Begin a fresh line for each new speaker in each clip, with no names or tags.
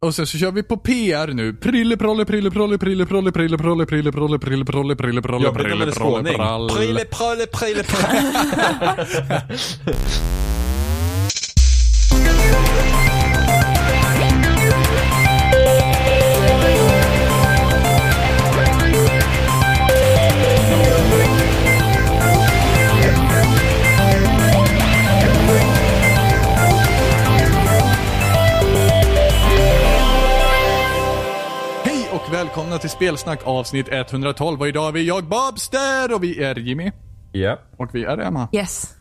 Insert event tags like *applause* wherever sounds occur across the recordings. Och sen så kör vi på PR nu. Prille prolle prille prolle prille prolle prille prolle prille prolle prille prolle prille prolle
Jobbigt om
prille
det är
prolle
skåning.
pralle.
Prille, pralle, prille, pralle.
Hej och välkomna till Spelsnack avsnitt 112 och idag är vi jag Babster och vi är Jimmy.
*laughs* Ja.
Och vi är Emma.
Yes.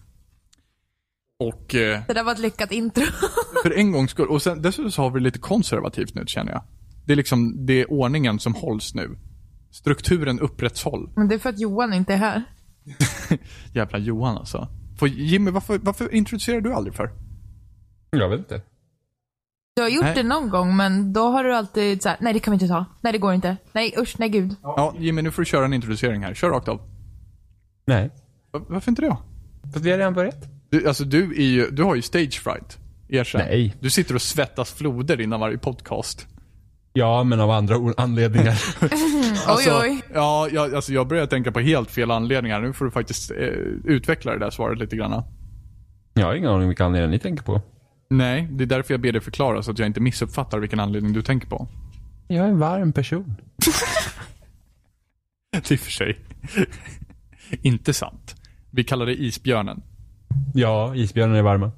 Och eh,
Det där var ett lyckat intro. *laughs*
för en gångs skull. Och sen, dessutom så har vi det lite konservativt nu känner jag. Det är liksom, det är ordningen som hålls nu. Strukturen upprätthåll.
Men det är för att Johan inte är här.
*laughs* Jävla Johan alltså. För Jimmy, varför, varför introducerar du aldrig för?
Jag vet inte.
Du har gjort
Nej.
det någon gång, men då har du alltid så här, nej det kan vi inte ta. Nej det går inte. Nej usch, nej gud.
Ja, Jimmy, nu får du köra en introducering här. Kör rakt av.
Nej.
Va- Varför inte det?
För vi har redan börjat.
Du, alltså du, är ju, du har ju stage fright. Erkänn.
Nej.
Du sitter och svettas floder innan varje podcast.
Ja, men av andra o- *laughs* anledningar.
Alltså,
oj oj.
Ja, jag, alltså jag börjar tänka på helt fel anledningar. Nu får du faktiskt eh, utveckla det där svaret lite grann.
jag har ingen aning vilka anledningar ni tänker på.
Nej, det är därför jag ber dig förklara så att jag inte missuppfattar vilken anledning du tänker på. *laughs*
Jag är en varm person.
Det är för sig *laughs* inte sant. Vi kallar det isbjörnen.
Ja, isbjörnar är varma.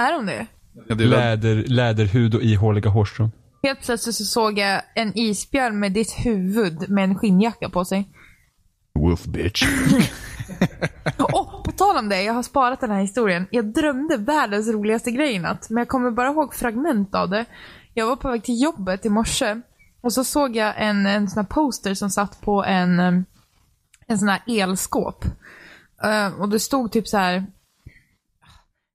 Är de det?
Läder, läderhud och ihåliga hårstrån.
Helt plötsligt så såg jag en isbjörn med ditt huvud med en skinnjacka på sig.
Wolf bitch.
*laughs* Och på tal om det, jag har sparat den här historien. Jag drömde världens roligaste grej i natt, men jag kommer bara ihåg fragment av det. Jag var på väg till jobbet i morse och så såg jag en, en sån här poster som satt på en, eh, em, en sån här elskåp. Eh, och det stod typ så här.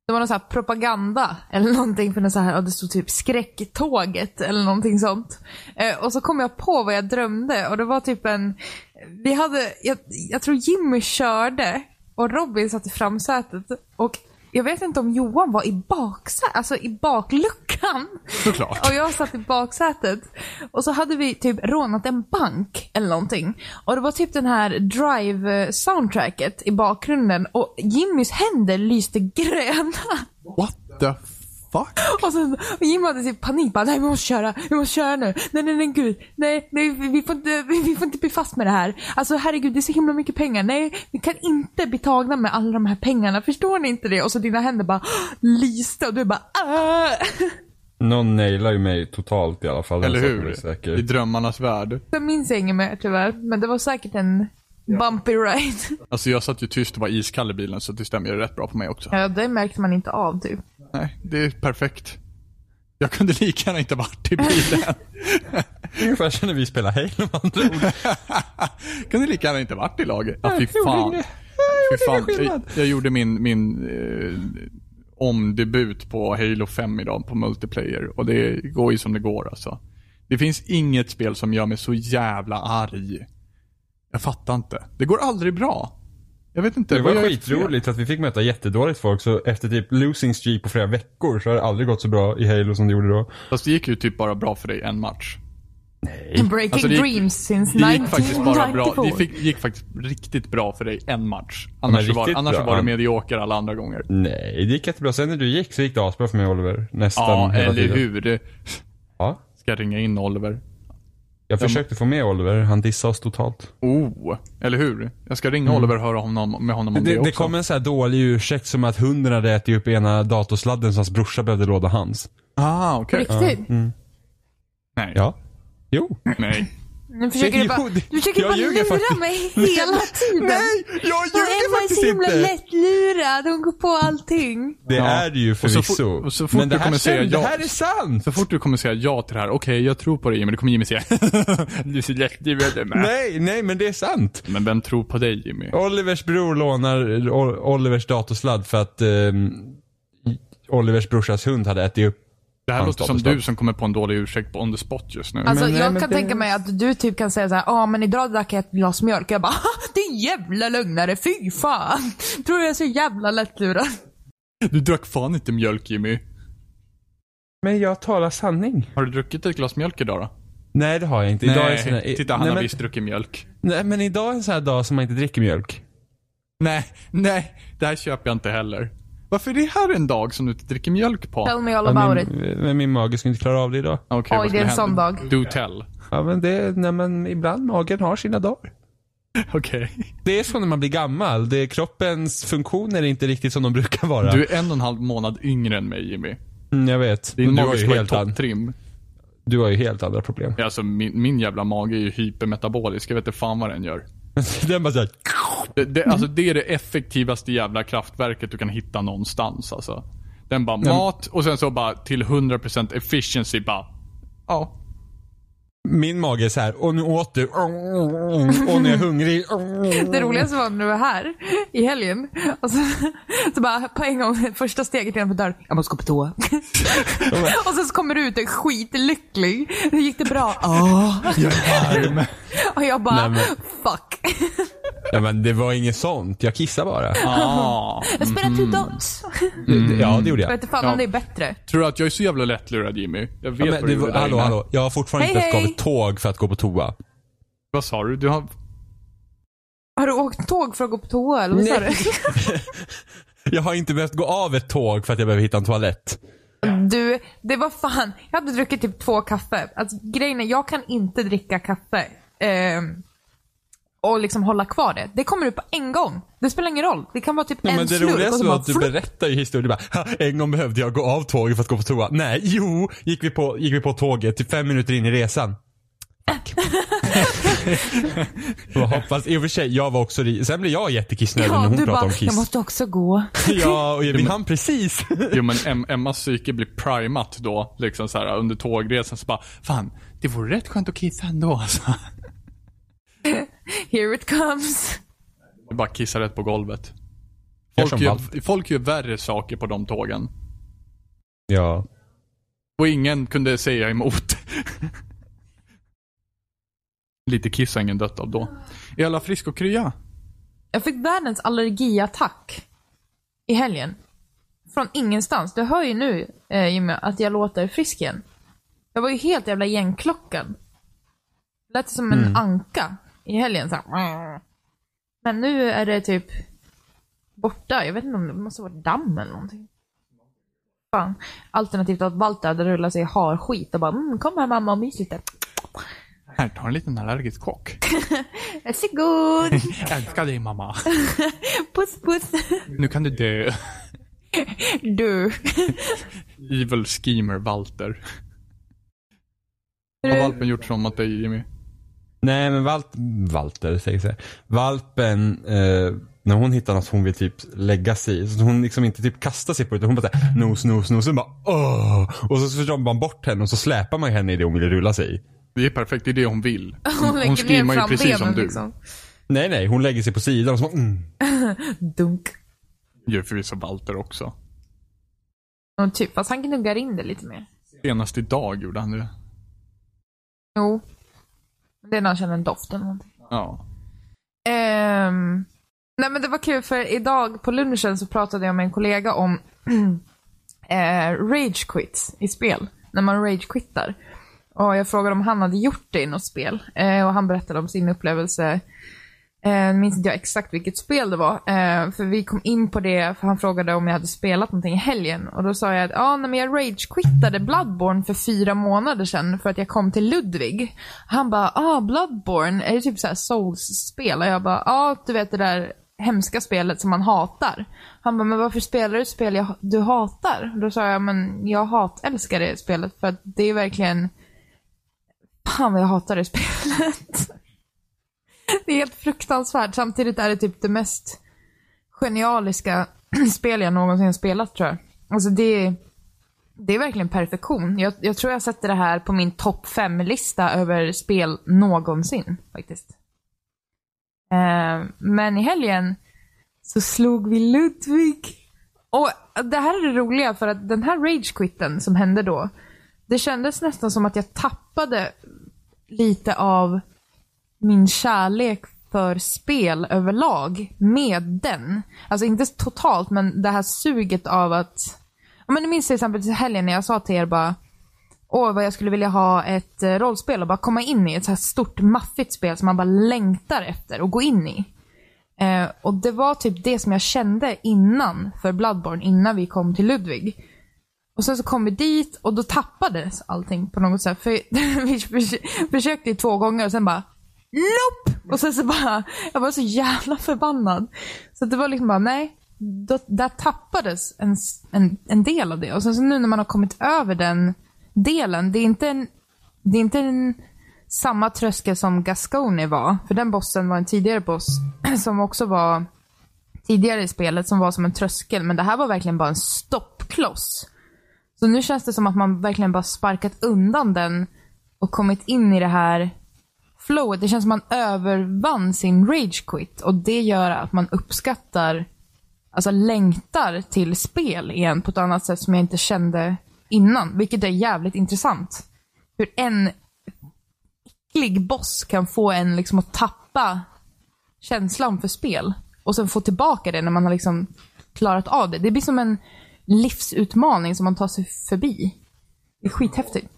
Det var någon så här propaganda eller någonting för någon så här, ja, det stod typ skräcktåget eller någonting sånt. Eh, och så kom jag på vad jag drömde och det var typ en, vi hade, jag, jag tror Jimmy körde och Robin satt i framsätet och jag vet inte om Johan var i baksä, alltså i bakluckan.
Såklart.
Och jag satt i baksätet. Och så hade vi typ rånat en bank eller någonting. Och det var typ den här Drive-soundtracket i bakgrunden. Och Jimmys händer lyste gröna. *laughs*
What the fuck?
Och, sen, och Jimmy hade typ panik. Bara, nej vi måste köra, vi måste köra nu. Nej nej nej gud. Nej, nej vi, vi, får inte, vi, vi får inte bli fast med det här. Alltså herregud det är så himla mycket pengar. Nej vi kan inte bli tagna med alla de här pengarna. Förstår ni inte det? Och så dina händer bara *gasps* lyste och du bara "Ah."
Någon nailar ju mig totalt i alla fall.
Eller
Den saken är
hur?
säker.
I drömmarnas värld.
Jag minns jag inget mer tyvärr, men det var säkert en bumpy ride. *laughs*
Alltså jag satt ju tyst och var iskall i bilen så det stämmer ju rätt bra på mig också.
Ja, det märkte man inte av typ.
Nej, det är perfekt. Jag kunde lika gärna inte varit i
*laughs*
bilen.
Ungefär som när vi spelar Halo med andra ord.
kunde lika gärna inte varit i laget. Ja, fy
gjorde
fan. Fy
ingen- ingen
fan. Jag,
skillnad.
jag gjorde min, min eh, omdebut på Halo 5 idag på multiplayer och det går ju som det går alltså. Det finns inget spel som gör mig så jävla arg. Jag fattar inte. Det går aldrig bra. Jag vet inte.
Det var
vad jag gjort fel.
skitroligt att vi fick möta jättedåligt folk så efter typ losing streak på flera veckor så har det aldrig gått så bra i Halo som det gjorde då.
Fast det gick ju typ bara bra för dig en match.
Breaking
Alltså, det gick-
dreams since
Det gick faktiskt bara bra.
1994.
Det fick, gick faktiskt riktigt bra för dig en match. Annars,
Men
så var,
riktigt
annars så
bra.
var det medioker alla andra gånger.
Nej, det gick jättebra. Sen när du gick så gick det asbra för mig Oliver. Nästan
Ja,
hela
eller
tiden.
hur?
Ja.
Ska jag ringa in Oliver?
Jag försökte få med Oliver, han dissade oss totalt.
Oh, eller hur? Jag ska ringa Oliver och höra honom, med honom om det,
Mm. Det,
också.
det kom en så här dålig ursäkt som att hunden hade ätit upp ena datorsladden så hans brorsa behövde låda hans.
Ah, okej.
Riktigt?
Mm.
Nej.
Ja. Jo.
Nej.
Nu försöker
*laughs*
du
Jo,
bara,
det-
du försöker
jag
bara
ljuger
lura
faktiskt.
mig
*laughs*
hela tiden.
jag
Och Emma är så himla lättlurad. Hon går på allting.
Det
Ja.
är det ju
så fort-
förvisso.
och så fort
Men det
du
här,
kommer säga
stämmer,
ja.
det här är sant!
Så fort du kommer säga ja till det här, okej jag tror på dig Jimmy, då kommer Jimmy säga *laughs* Du är så lättluvad med.
Nej, nej men det är sant.
Men vem tror på dig Jimmy?
Olivers bror lånar O- Olivers datorsladd för att ehm, Olivers brorsas hund hade ätit upp.
Det här
Hans
låter som
datorsladd.
du som kommer på en dålig ursäkt på on the spot just nu.
Alltså,
nej,
jag
men
kan
det-
tänka mig att du typ kan säga så här, ja men idag drack jag ett glas mjölk. Jag bara, "Haha, din jävla lögnare, fy fan. Tror du jag är så jävla lättlurad?
Du drack fan inte mjölk Jimmy.
Men jag talar sanning.
Har du druckit ett glas mjölk idag då?
Nej, det har jag inte. Idag är en sån här-
Nej, titta han
nej,
har
men,
visst druckit mjölk.
nej, men idag är en sån här dag som man inte dricker mjölk.
Nej, nej, det här köper jag inte heller. Varför är det här en dag som du inte dricker mjölk på?
Tell me all
Ja,
about it.
min, men min mage skulle inte klara av det idag.
Okej,
Oj,
vad
det är en
skulle
sån
hända?
dag.
Do
*laughs*
tell.
Ja, men det, nej, men ibland magen har sina dagar.
Okej.
Det är så när man blir gammal. Det, kroppens funktioner är inte riktigt som de brukar vara.
Du är en och en halv månad yngre än mig Jimmy.
mm, jag vet.
Din
Men du,
mage
har ju
ska vara i
helt an,
topptrim.
du har ju helt andra problem. *laughs*
Alltså min, min jävla mage är ju hypermetabolisk. Jag vet inte fan vad den gör.
Den bara såhär...
Det, det, alltså, det är det effektivaste jävla kraftverket du kan hitta någonstans. Alltså. Den bara mat och sen så bara till 100% efficiency bara.
*laughs*
Ja.
Min mage är så här. och nu åt du. Och nu är
*laughs*
jag hungrig.
Det roligaste var när du var här i helgen. Och så, så bara på en gång, första steget genom dörren. Jag måste gå på toa. och sen så kommer du ut och är skitlycklig. Hur gick det bra? Ja. *laughs* och jag bara,
Nej,
fuck.
Ja, men det var inget sånt. Jag kissade bara.
Ah.
Jag spelar two dots.
Ja, det gjorde jag.
Jag vet inte fan
Ja.
om det är bättre.
Tror du att jag är så jävla lättlurad Jimmy? Jag vet
Ja,
vad
men
du
det
gjorde
var,
där
hallå,
inne.
hå. Jag har fortfarande
Hej,
inte ens
hej.
gått tåg för att gå på toa.
Vad sa du? Du har...
Har du åkt tåg för att gå på toa eller vad sa du?
*laughs* Jag har inte behövt gå av ett tåg för att jag behöver hitta en toalett.
Du, det var fan. Jag hade druckit typ två kaffe. Alltså, grejen är, jag kan inte dricka kaffe. ehm, och liksom hålla kvar det. Det kommer ut på en gång. Det spelar ingen roll. Det kan vara typ
Ja,
en
men det
slurk. och
roligaste
så
var
bara
att du
flupp.
berättar ju historien. Du bara, "Ha, en gång behövde jag gå av tåget för att gå på toa. Nej, jo, gick vi på, gick vi på tåget typ fem minuter in i resan.
*laughs*
Fuck. jag hoppas, i och för sig, jag var också ri- Sen blev jag jättekissnödig när
Ja,
hon
du
pratade
bara,
om
jag
kiss.
måste också gå.
Ja, och vi hann precis.
Jo men Em- Emmas psyke blir primat då. Liksom så här under tågresan så bara, fan, det vore rätt skönt att kissa ändå alltså.
Here it comes.
Jag bara kissar rätt på golvet.
Gör
Folk
som
gör,
Walter.
folk gör värre saker på de tågen.
ja.
Och ingen kunde säga emot. *laughs* Lite kiss har ingen dött av då. Är alla frisk och krya?
Jag fick världens allergiattack i helgen. Från ingenstans. Du hör ju nu eh, Jimmy, att jag låter frisk igen. Jag var ju helt jävla igenklockad. Lät som en
Mm.
anka i helgen. Så här. Men nu är det typ borta. Jag vet inte om det måste vara damm eller någonting. Fan. Alternativt att Walter hade rullat sig i harskit och bara mm, kom här mamma och mys lite.
Här, ta en liten allergisk chock.
*laughs* Varsågod!
Älskar dig mamma.
Puss puss!
Nu kan du dö.
Du.
Evil schemer Walter. Vad har valpen gjort som att dig Jimmy?
Nej men Valt, Walter säger så här. Valpen, eh, när hon hittar något hon vill typ lägga sig i, så att hon liksom inte typ kastar sig på det utan hon bara såhär nos, nos, nos. Och, bara, Åh! och så försöker man bort henne och så släpar man henne i det hon vill rulla sig i.
Det är perfekt, det är det hon vill.
*laughs* Hon lägger
screamar
ner
ju
frambenen
precis som du.
liksom.
Nej nej, hon lägger sig på sidan och så bara, mm.
Dunk.
Gör förvisso Walter också.
Ja, typ, fast han gnuggar in det lite mer.
Senast idag gjorde han det.
Jo. Det är när han känner en doft eller någonting.
Ja.
Ehm, nej men det var kul för idag på lunchen så pratade jag med en kollega om *clears throat* eh, rage quits i spel. När man rage quittar. Och jag frågade om han hade gjort det i något spel. Eh, och han berättade om sin upplevelse. Eh, jag minns inte jag exakt vilket spel det var. Eh, för vi kom in på det, för han frågade om jag hade spelat någonting i helgen. Och då sa jag att ah, nej, men jag rage-quittade Bloodborne för fyra månader sedan för att jag kom till Ludvig. Han bara, ah Bloodborne, är det typ så här Souls-spel? Och jag bara, ja ah, du vet det där hemska spelet som man hatar. Han bara, men varför spelar du spel jag, du hatar? Och då sa jag, men jag hatälskar det spelet för att det är verkligen Fan vad jag hatar det spelet. Det är helt fruktansvärt. Samtidigt är det typ det mest genialiska *clears throat* spel jag någonsin har spelat tror jag. Alltså det är, det är verkligen perfektion. Jag, jag tror jag sätter det här på min topp fem-lista över spel någonsin faktiskt. Eh, men i helgen så slog vi Ludvig. Och det här är det roliga för att den här ragequitten som hände då. Det kändes nästan som att jag tappade lite av min kärlek för spel överlag med den. Alltså inte totalt, men det här suget av att Ja, men du minns till exempel till helgen när jag sa till er bara Åh vad jag skulle vilja ha ett eh, rollspel och bara komma in i ett så här stort maffigt spel som man bara längtar efter och gå in i. Eh, och det var typ det som jag kände innan för Bloodborne, innan vi kom till Ludvig. Och sen så kom vi dit och då tappades allting på något sätt. För *laughs* vi förs- försökte ju två gånger och sen bara Nope! Och sen så bara, jag var så jävla förbannad. Så det var liksom bara, nej. Då, där tappades en, s- en, en del av det. Och sen så nu när man har kommit över den delen, det är inte en, det är inte en, samma tröskel som Gasconi var. För den bossen var en tidigare boss *clears throat* som också var tidigare i spelet som var som en tröskel. Men det här var verkligen bara en stoppkloss. Så nu känns det som att man verkligen bara sparkat undan den och kommit in i det här flowet. Det känns som att man övervann sin rage quit och det gör att man uppskattar, alltså längtar till spel igen på ett annat sätt som jag inte kände innan. Vilket är jävligt intressant. Hur en äcklig boss kan få en liksom att tappa känslan för spel och sen få tillbaka det när man har liksom klarat av det. Det blir som en livsutmaning som man tar sig förbi. Det är skithäftigt.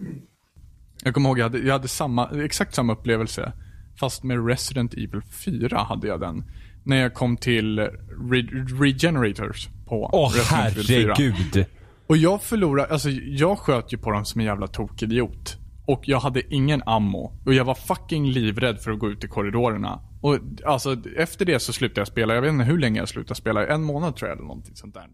Jag kommer ihåg, jag hade, jag hade samma, exakt samma upplevelse. Fast med Resident Evil 4 hade jag den. När jag kom till Re- Regenerators på
Åh
Resident Evil 4.
herregud.
Och jag förlorade, alltså jag sköt ju på dem som en jävla tokidiot. Och jag hade ingen ammo. Och jag var fucking livrädd för att gå ut i korridorerna. Och alltså efter det så slutade jag spela. Jag vet inte hur länge jag slutade spela. En månad tror jag eller någonting sånt där.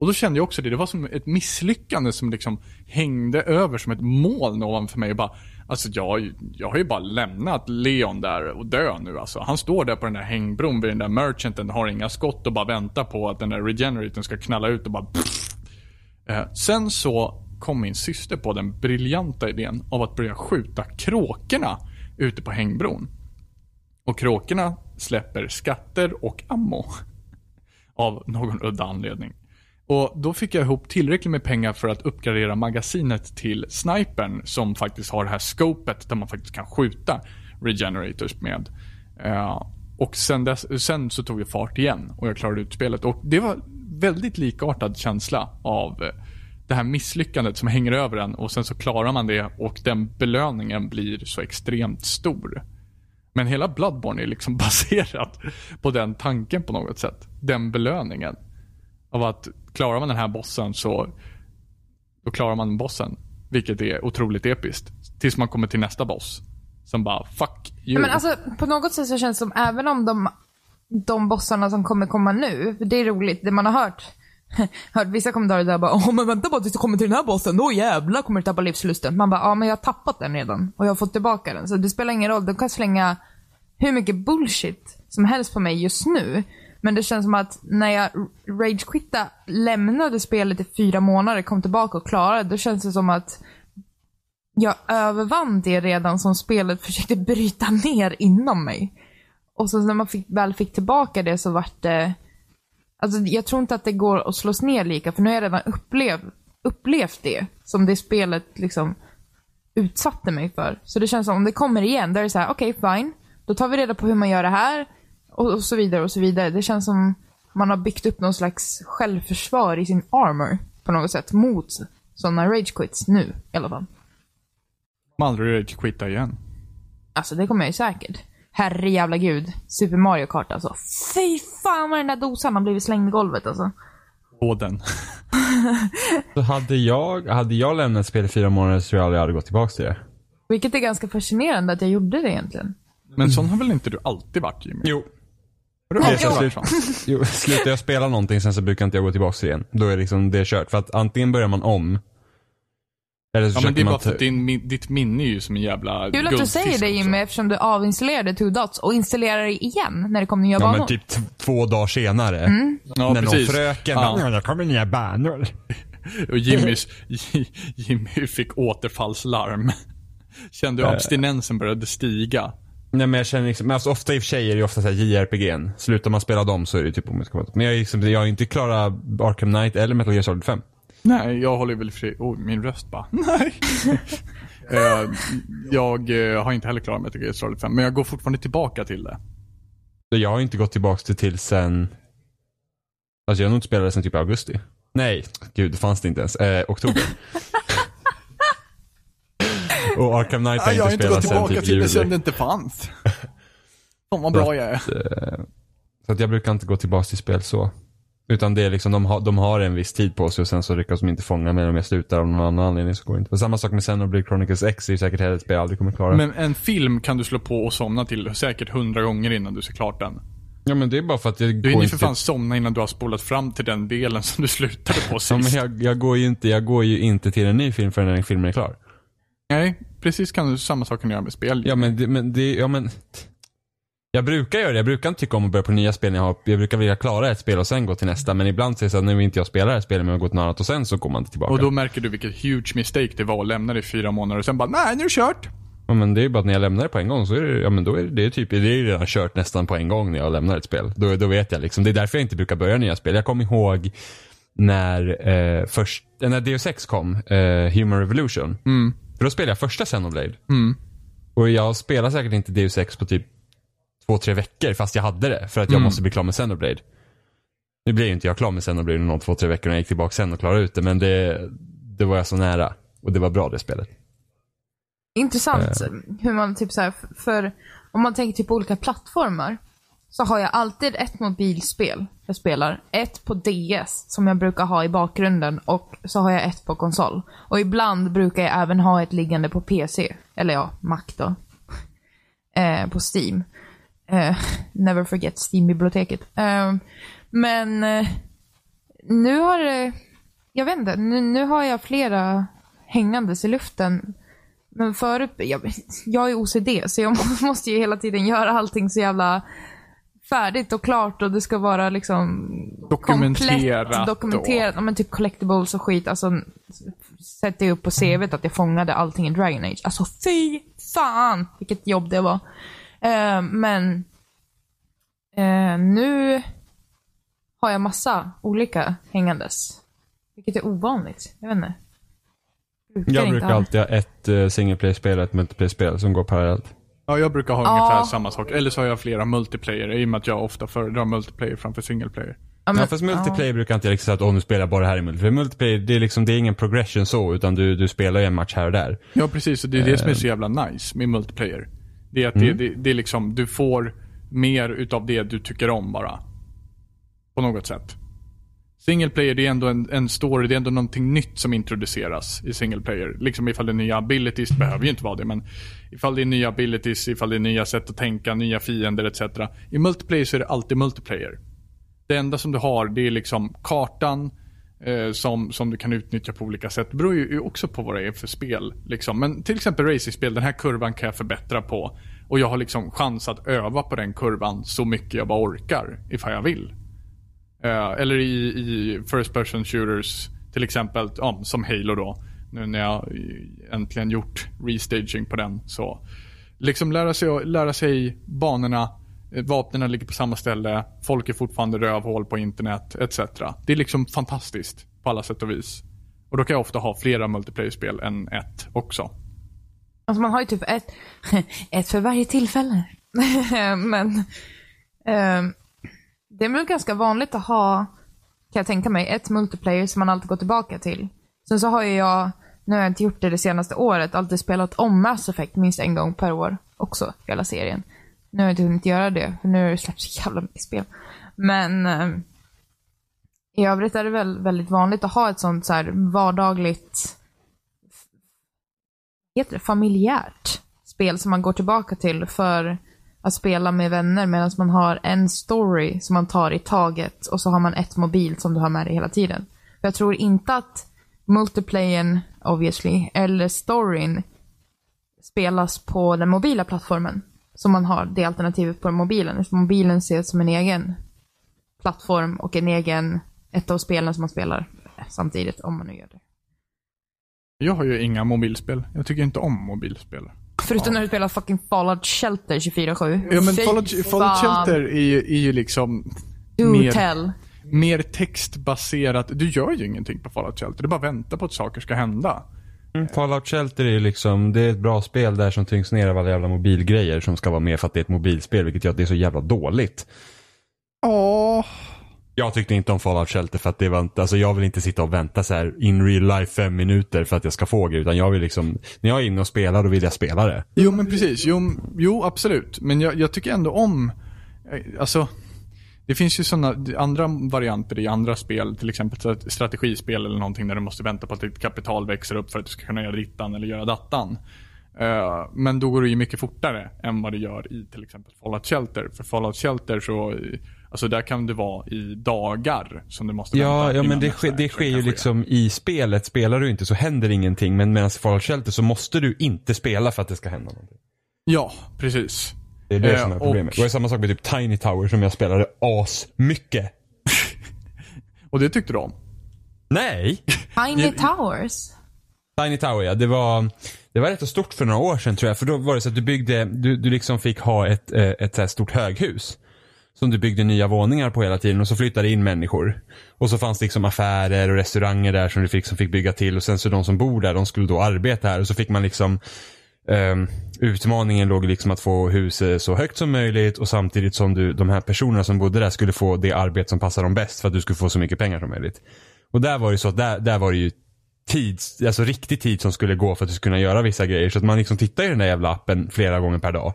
Och då kände jag också det. Det var som ett misslyckande som liksom hängde över som ett moln ovanför mig och bara Alltså jag, jag har ju bara lämnat Leon där och dö nu alltså. Han står där på den där hängbron vid den där merchanten, har inga skott och bara väntar på att den där regeneratorn ska knalla ut och bara Eh, Sen så kom min syster på den briljanta idén av att börja skjuta kråkorna ute på hängbron. Och kråkorna släpper skatter och ammo. Av någon udda anledning. Och då fick jag ihop tillräckligt med pengar för att uppgradera magasinet till snipern som faktiskt har det här scopet där man faktiskt kan skjuta regenerators med. Eh, och sen, dess, sen så tog det fart igen och jag klarade ut spelet. Och det var väldigt likartad känsla av eh, det här misslyckandet som hänger över en och sen så klarar man det och den belöningen blir så extremt stor. Men hela Bloodborne är liksom *laughs* baserat på den tanken på något sätt. Den belöningen. Av att klarar man den här bossen så då klarar man bossen. Vilket är otroligt episkt. Tills man kommer till nästa boss. Som bara fuck you.
Ja, Men alltså, på något sätt så känns det som, även om de, de bossarna som kommer komma nu, för det är roligt, det man har hört, *laughs* hört vissa kommentarer där bara Åh, men vänta bara tills du kommer till den här bossen, då jävlar kommer du tappa livslusten. Man bara, ja men jag har tappat den redan och jag har fått tillbaka den. Så det spelar ingen roll, de kan slänga hur mycket bullshit som helst på mig just nu. Men det känns som att när jag ragequitta lämnade spelet i fyra månader, kom tillbaka och klarade, då känns det som att jag övervann det redan som spelet försökte bryta ner inom mig. Och så när man fick, väl fick tillbaka det så vart det... Alltså jag tror inte att det går att slås ner lika, för nu har jag redan upplev, upplevt det som det spelet liksom utsatte mig för. Så det känns som om det kommer igen, då är det så här: okej fine, då tar vi reda på hur man gör det här och, och så vidare och så vidare. Det känns som man har byggt upp någon slags självförsvar i sin armor på något sätt mot sådana rage quits nu i alla fall.
kommer aldrig rage quitta igen.
Alltså det kommer jag ju säkert. Herre jävla gud. Super Mario Kart alltså. Fy fan vad den där dosan har blivit slängd i golvet alltså.
*laughs*
Båden.
Så hade jag, hade jag lämnat spel i fyra månader så tror jag aldrig hade gått tillbaka till det.
Vilket är ganska fascinerande att jag gjorde det egentligen.
Men sån har väl inte du alltid varit Jimmy?
Jo.
Har du
Nej,
alltid
jag-
varit
*laughs*
sån?
jo slutar jag spela någonting sen så brukar inte jag gå tillbaka till det igen. Då är liksom det kört. För att antingen börjar man om. Eller så
Ja men
försöker
det är
man
bara för
ta-
att din, min, ditt minne är ju som en jävla
Kul att du
guldfisk
säger det
också.
Jimmy eftersom du avinstallerade Two Dots och installerade det igen när det kom nya
Ja
banor.
men typ t- två dagar senare.
Ja,
när
precis.
någon fröken
Ja.
bara, "Ja, det kommer nya banor.
Och Jimmys, *laughs* Jimmy fick återfallslarm. Kände
Eh.
hur abstinensen började stiga.
Nej men jag känner liksom, men alltså ofta i och för sig är det ju ofta såhär JRPG'n. Slutar man spela dem så är det typ om jag ska vara- Men jag, är liksom, jag har inte klarat Arkham Knight eller Metal Gear Solid 5.
Nej, jag håller väl fri. Oh, min röst bara. *laughs*
*laughs*
Nej. Eh, jag eh, har inte heller klarat Metal Gear Solid 5, men jag går fortfarande tillbaka till det.
Jag har inte gått tillbaka till, till sen... Alltså jag har nog inte spelat det sen typ augusti. Nej, gud, det fanns det inte ens. Eh, oktober. och Arkham Knight har
jag har
inte
inte gått
spelat sen
tillbaka
typ
till det
juli.
sen det inte
*laughs*
fanns. Fan vad bra jag är.
Så att jag brukar inte gå tillbaka till spel så. Utan det är liksom, de, har de har en viss tid på sig och sen så lyckas de inte fånga mig om jag slutar av någon annan anledning så går det inte. Och samma sak med Xenoblade Chronicles X är ju säkert heller ett spel jag aldrig kommer klara.
Men en film kan du slå på och somna till säkert hundra gånger innan du ser klart den.
ja men det är bara för att jag
Du
går
hinner
inte
för fan somna innan du har spolat fram till den delen som du slutade
*laughs*
på sist.
Ja, men jag, jag, går ju inte, jag går ju inte till en ny film förrän den filmen är klar.
Nej, precis kan du, samma sak kan du göra med spel.
Ja men, det, men det, ja men. Jag brukar göra det. Jag brukar inte tycka om att börja på nya spel. när Jag, har, jag brukar vilja klara ett spel och sen gå till nästa. Men ibland säger jag så att nu vill inte jag spela det här spelet men jag går till något annat och sen så går man inte tillbaka.
Och då märker du vilket huge mistake det var att lämna det i fyra månader och sen bara nej, nu är det kört.
Ja, men det är ju bara att när jag lämnar det på en gång så är det, ja, men då är det, det är typ, det är ju redan kört nästan på en gång när jag lämnar ett spel. Då, då vet jag liksom. Det är därför jag inte brukar börja nya spel. Jag kommer ihåg när, eh, först, eh, när DO6 kom, eh, Human Revolution. För då spelade jag första Xenoblade. Och jag spelar säkert inte DO6 på typ två, tre veckor fast jag hade det. För att jag måste bli klar med Xenoblade. Nu blev ju inte jag klar med Xenoblade inom två, tre veckor när jag gick tillbaka sen och klarade ut det. Men det, det var jag så nära. Och det var bra det spelet.
Intressant hur man typ så här, f- för om man tänker typ på olika plattformar. Så har jag alltid ett mobilspel jag spelar. Ett på DS som jag brukar ha i bakgrunden och så har jag ett på konsol. Och ibland brukar jag även ha ett liggande på PC. Eller ja, Mac då. *laughs* Eh, på Steam. Eh, *laughs* never forget Steam-biblioteket. Eh, men eh, nu har det, jag vet inte, nu, nu har jag flera hängandes i luften men förut, jag, jag är OCD så jag *laughs* måste ju hela tiden göra allting så jävla färdigt och klart och det ska vara liksom
Dokumenterat
komplett,
och-
dokumenterat. Ja, men typ collectibles och skit. Alltså, sätter jag upp på CVt att jag fångade allting i Dragon Age. Alltså fy fan vilket jobb det var. Eh, men eh, nu har jag massa olika hängandes. Vilket är ovanligt. Jag vet inte. Brukar
Jag
inte
brukar
ha-
alltid ha ett eh, single player spel och ett multiplayer spel som går parallellt.
Ja, jag brukar ha ungefär
Ja.
samma sak. Eller så har jag flera multiplayer i och med att jag ofta föredrar multiplayer framför single player.
Ja, men-
ja, fast multiplayer brukar inte jag liksom säga att om du spelar bara det här i multiplayer. Multiplayer, det är, liksom, det är ingen progression så, utan du, du spelar ju en match här och där.
Ja, precis. Och det är det som är så jävla nice med multiplayer. Det är att det, det, det är liksom, du får mer utav det du tycker om bara. På något sätt. Single player, det är ändå en, en story, det är ändå någonting nytt som introduceras i single player. Liksom ifall det är nya abilities, det behöver ju inte vara det, men ifall det är nya abilities, ifall det är nya sätt att tänka, nya fiender etc. I multiplayer så är det alltid multiplayer. Det enda som du har det är liksom kartan eh, som, som du kan utnyttja på olika sätt. Det beror ju ju också på vad det är för spel. Liksom. Men till exempel racingspel, den här kurvan kan jag förbättra på. Och jag har liksom chans att öva på den kurvan så mycket jag bara orkar ifall jag vill. Eh, eller i, i First Person Shooters till exempel, ja, som Halo då. Nu när jag eh, äntligen gjort restaging på den. Så liksom lära sig, lära sig banorna, eh, vapnen ligger på samma ställe, folk är fortfarande rövhål på internet etc. Det är liksom fantastiskt på alla sätt och vis. Och då kan jag ofta ha flera multiplayer-spel än ett också.
Alltså man har ju typ ett, *laughs* ett för varje tillfälle. *laughs* Men ehm, det är väl ganska vanligt att ha, kan jag tänka mig, ett multiplayer som man alltid går tillbaka till. Sen så har ju jag, nu har jag inte gjort det det senaste året, alltid spelat om Mass Effect minst en gång per år också, hela serien. Nu har jag inte hunnit göra det, för nu har det släppts så jävla mycket spel. Men ehm, i övrigt är det väl väldigt vanligt att ha ett sånt så här vardagligt heter det, familjärt spel som man går tillbaka till för att spela med vänner medan man har en story som man tar i taget och så har man ett mobil som du har med dig hela tiden. För jag tror inte att multiplayern, obviously, eller storyn spelas på den mobila plattformen. Så man har det alternativet på mobilen. eftersom Mobilen ses som en egen plattform och en egen, ett av spelen som man spelar samtidigt, om man nu gör det.
Jag har ju inga mobilspel. Jag tycker inte om mobilspel.
Förutom när du spelar fucking Fallout Shelter 24-7.
Ja men
Fy
Fallout, Fallout
fan.
Shelter är ju, är ju liksom
Do
mer-
tell.
mer textbaserat. Du gör ju ingenting på Fallout Shelter. Du bara väntar på att saker ska hända.
Mm, Fallout Shelter är ju liksom, det är ett bra spel där som tyngs ner av alla jävla mobilgrejer som ska vara med för att det är ett mobilspel, vilket gör att det är så jävla dåligt.
Ja.
Jag tyckte inte om Fallout Shelter för att det var inte, alltså jag vill inte sitta och vänta så här in real life fem minuter för att jag ska få grejer. Utan jag vill liksom, när jag är inne och spelar då vill jag spela det.
Jo men precis, jo, jo absolut. Men jag, jag tycker ändå om, eh, alltså det finns ju sådana andra varianter i andra spel, till exempel stra- strategispel eller någonting där du måste vänta på att ditt kapital växer upp för att du ska kunna göra dittan eller göra dattan. Eh, Men då går det ju mycket fortare än vad det gör i till exempel Fallout Shelter. För Fallout Shelter så, eh, alltså där kan det vara i dagar som du måste
Ja,
vänta.
ja men
innan
det,
nästa
sker, det
action
sker
kan
ju
ske.
liksom i spelet. Spelar du inte så händer ingenting. Men medan i Fallout Shelter så måste du inte spela för att det ska hända någonting.
Ja, precis.
Det är det
Eh,
som är
och-
problemet. Det var ju samma sak med typ Tiny Tower som jag spelade as mycket.
Och det tyckte du om?
Nej!
Tiny Towers.
Tiny Tower ja, det var, det var rätt så stort för några år sedan tror jag. För då var det så att du byggde, du, du liksom fick ha ett, eh, ett så här stort höghus. Som du byggde nya våningar på hela tiden och så flyttade in människor. Och så fanns det liksom affärer och restauranger där som du fick, som fick bygga till. Och sen så de som bor där, de skulle då arbeta här. Och så fick man liksom ehm, Utmaningen låg liksom att få huset så högt som möjligt och samtidigt som du, de här personerna som bodde där skulle få det arbete som passar dem bäst för att du skulle få så mycket pengar som möjligt. Och där var det ju så att där, där var det ju tid, alltså riktig tid som skulle gå för att du skulle kunna göra vissa grejer. Så att man liksom tittar i den där jävla appen flera gånger per dag.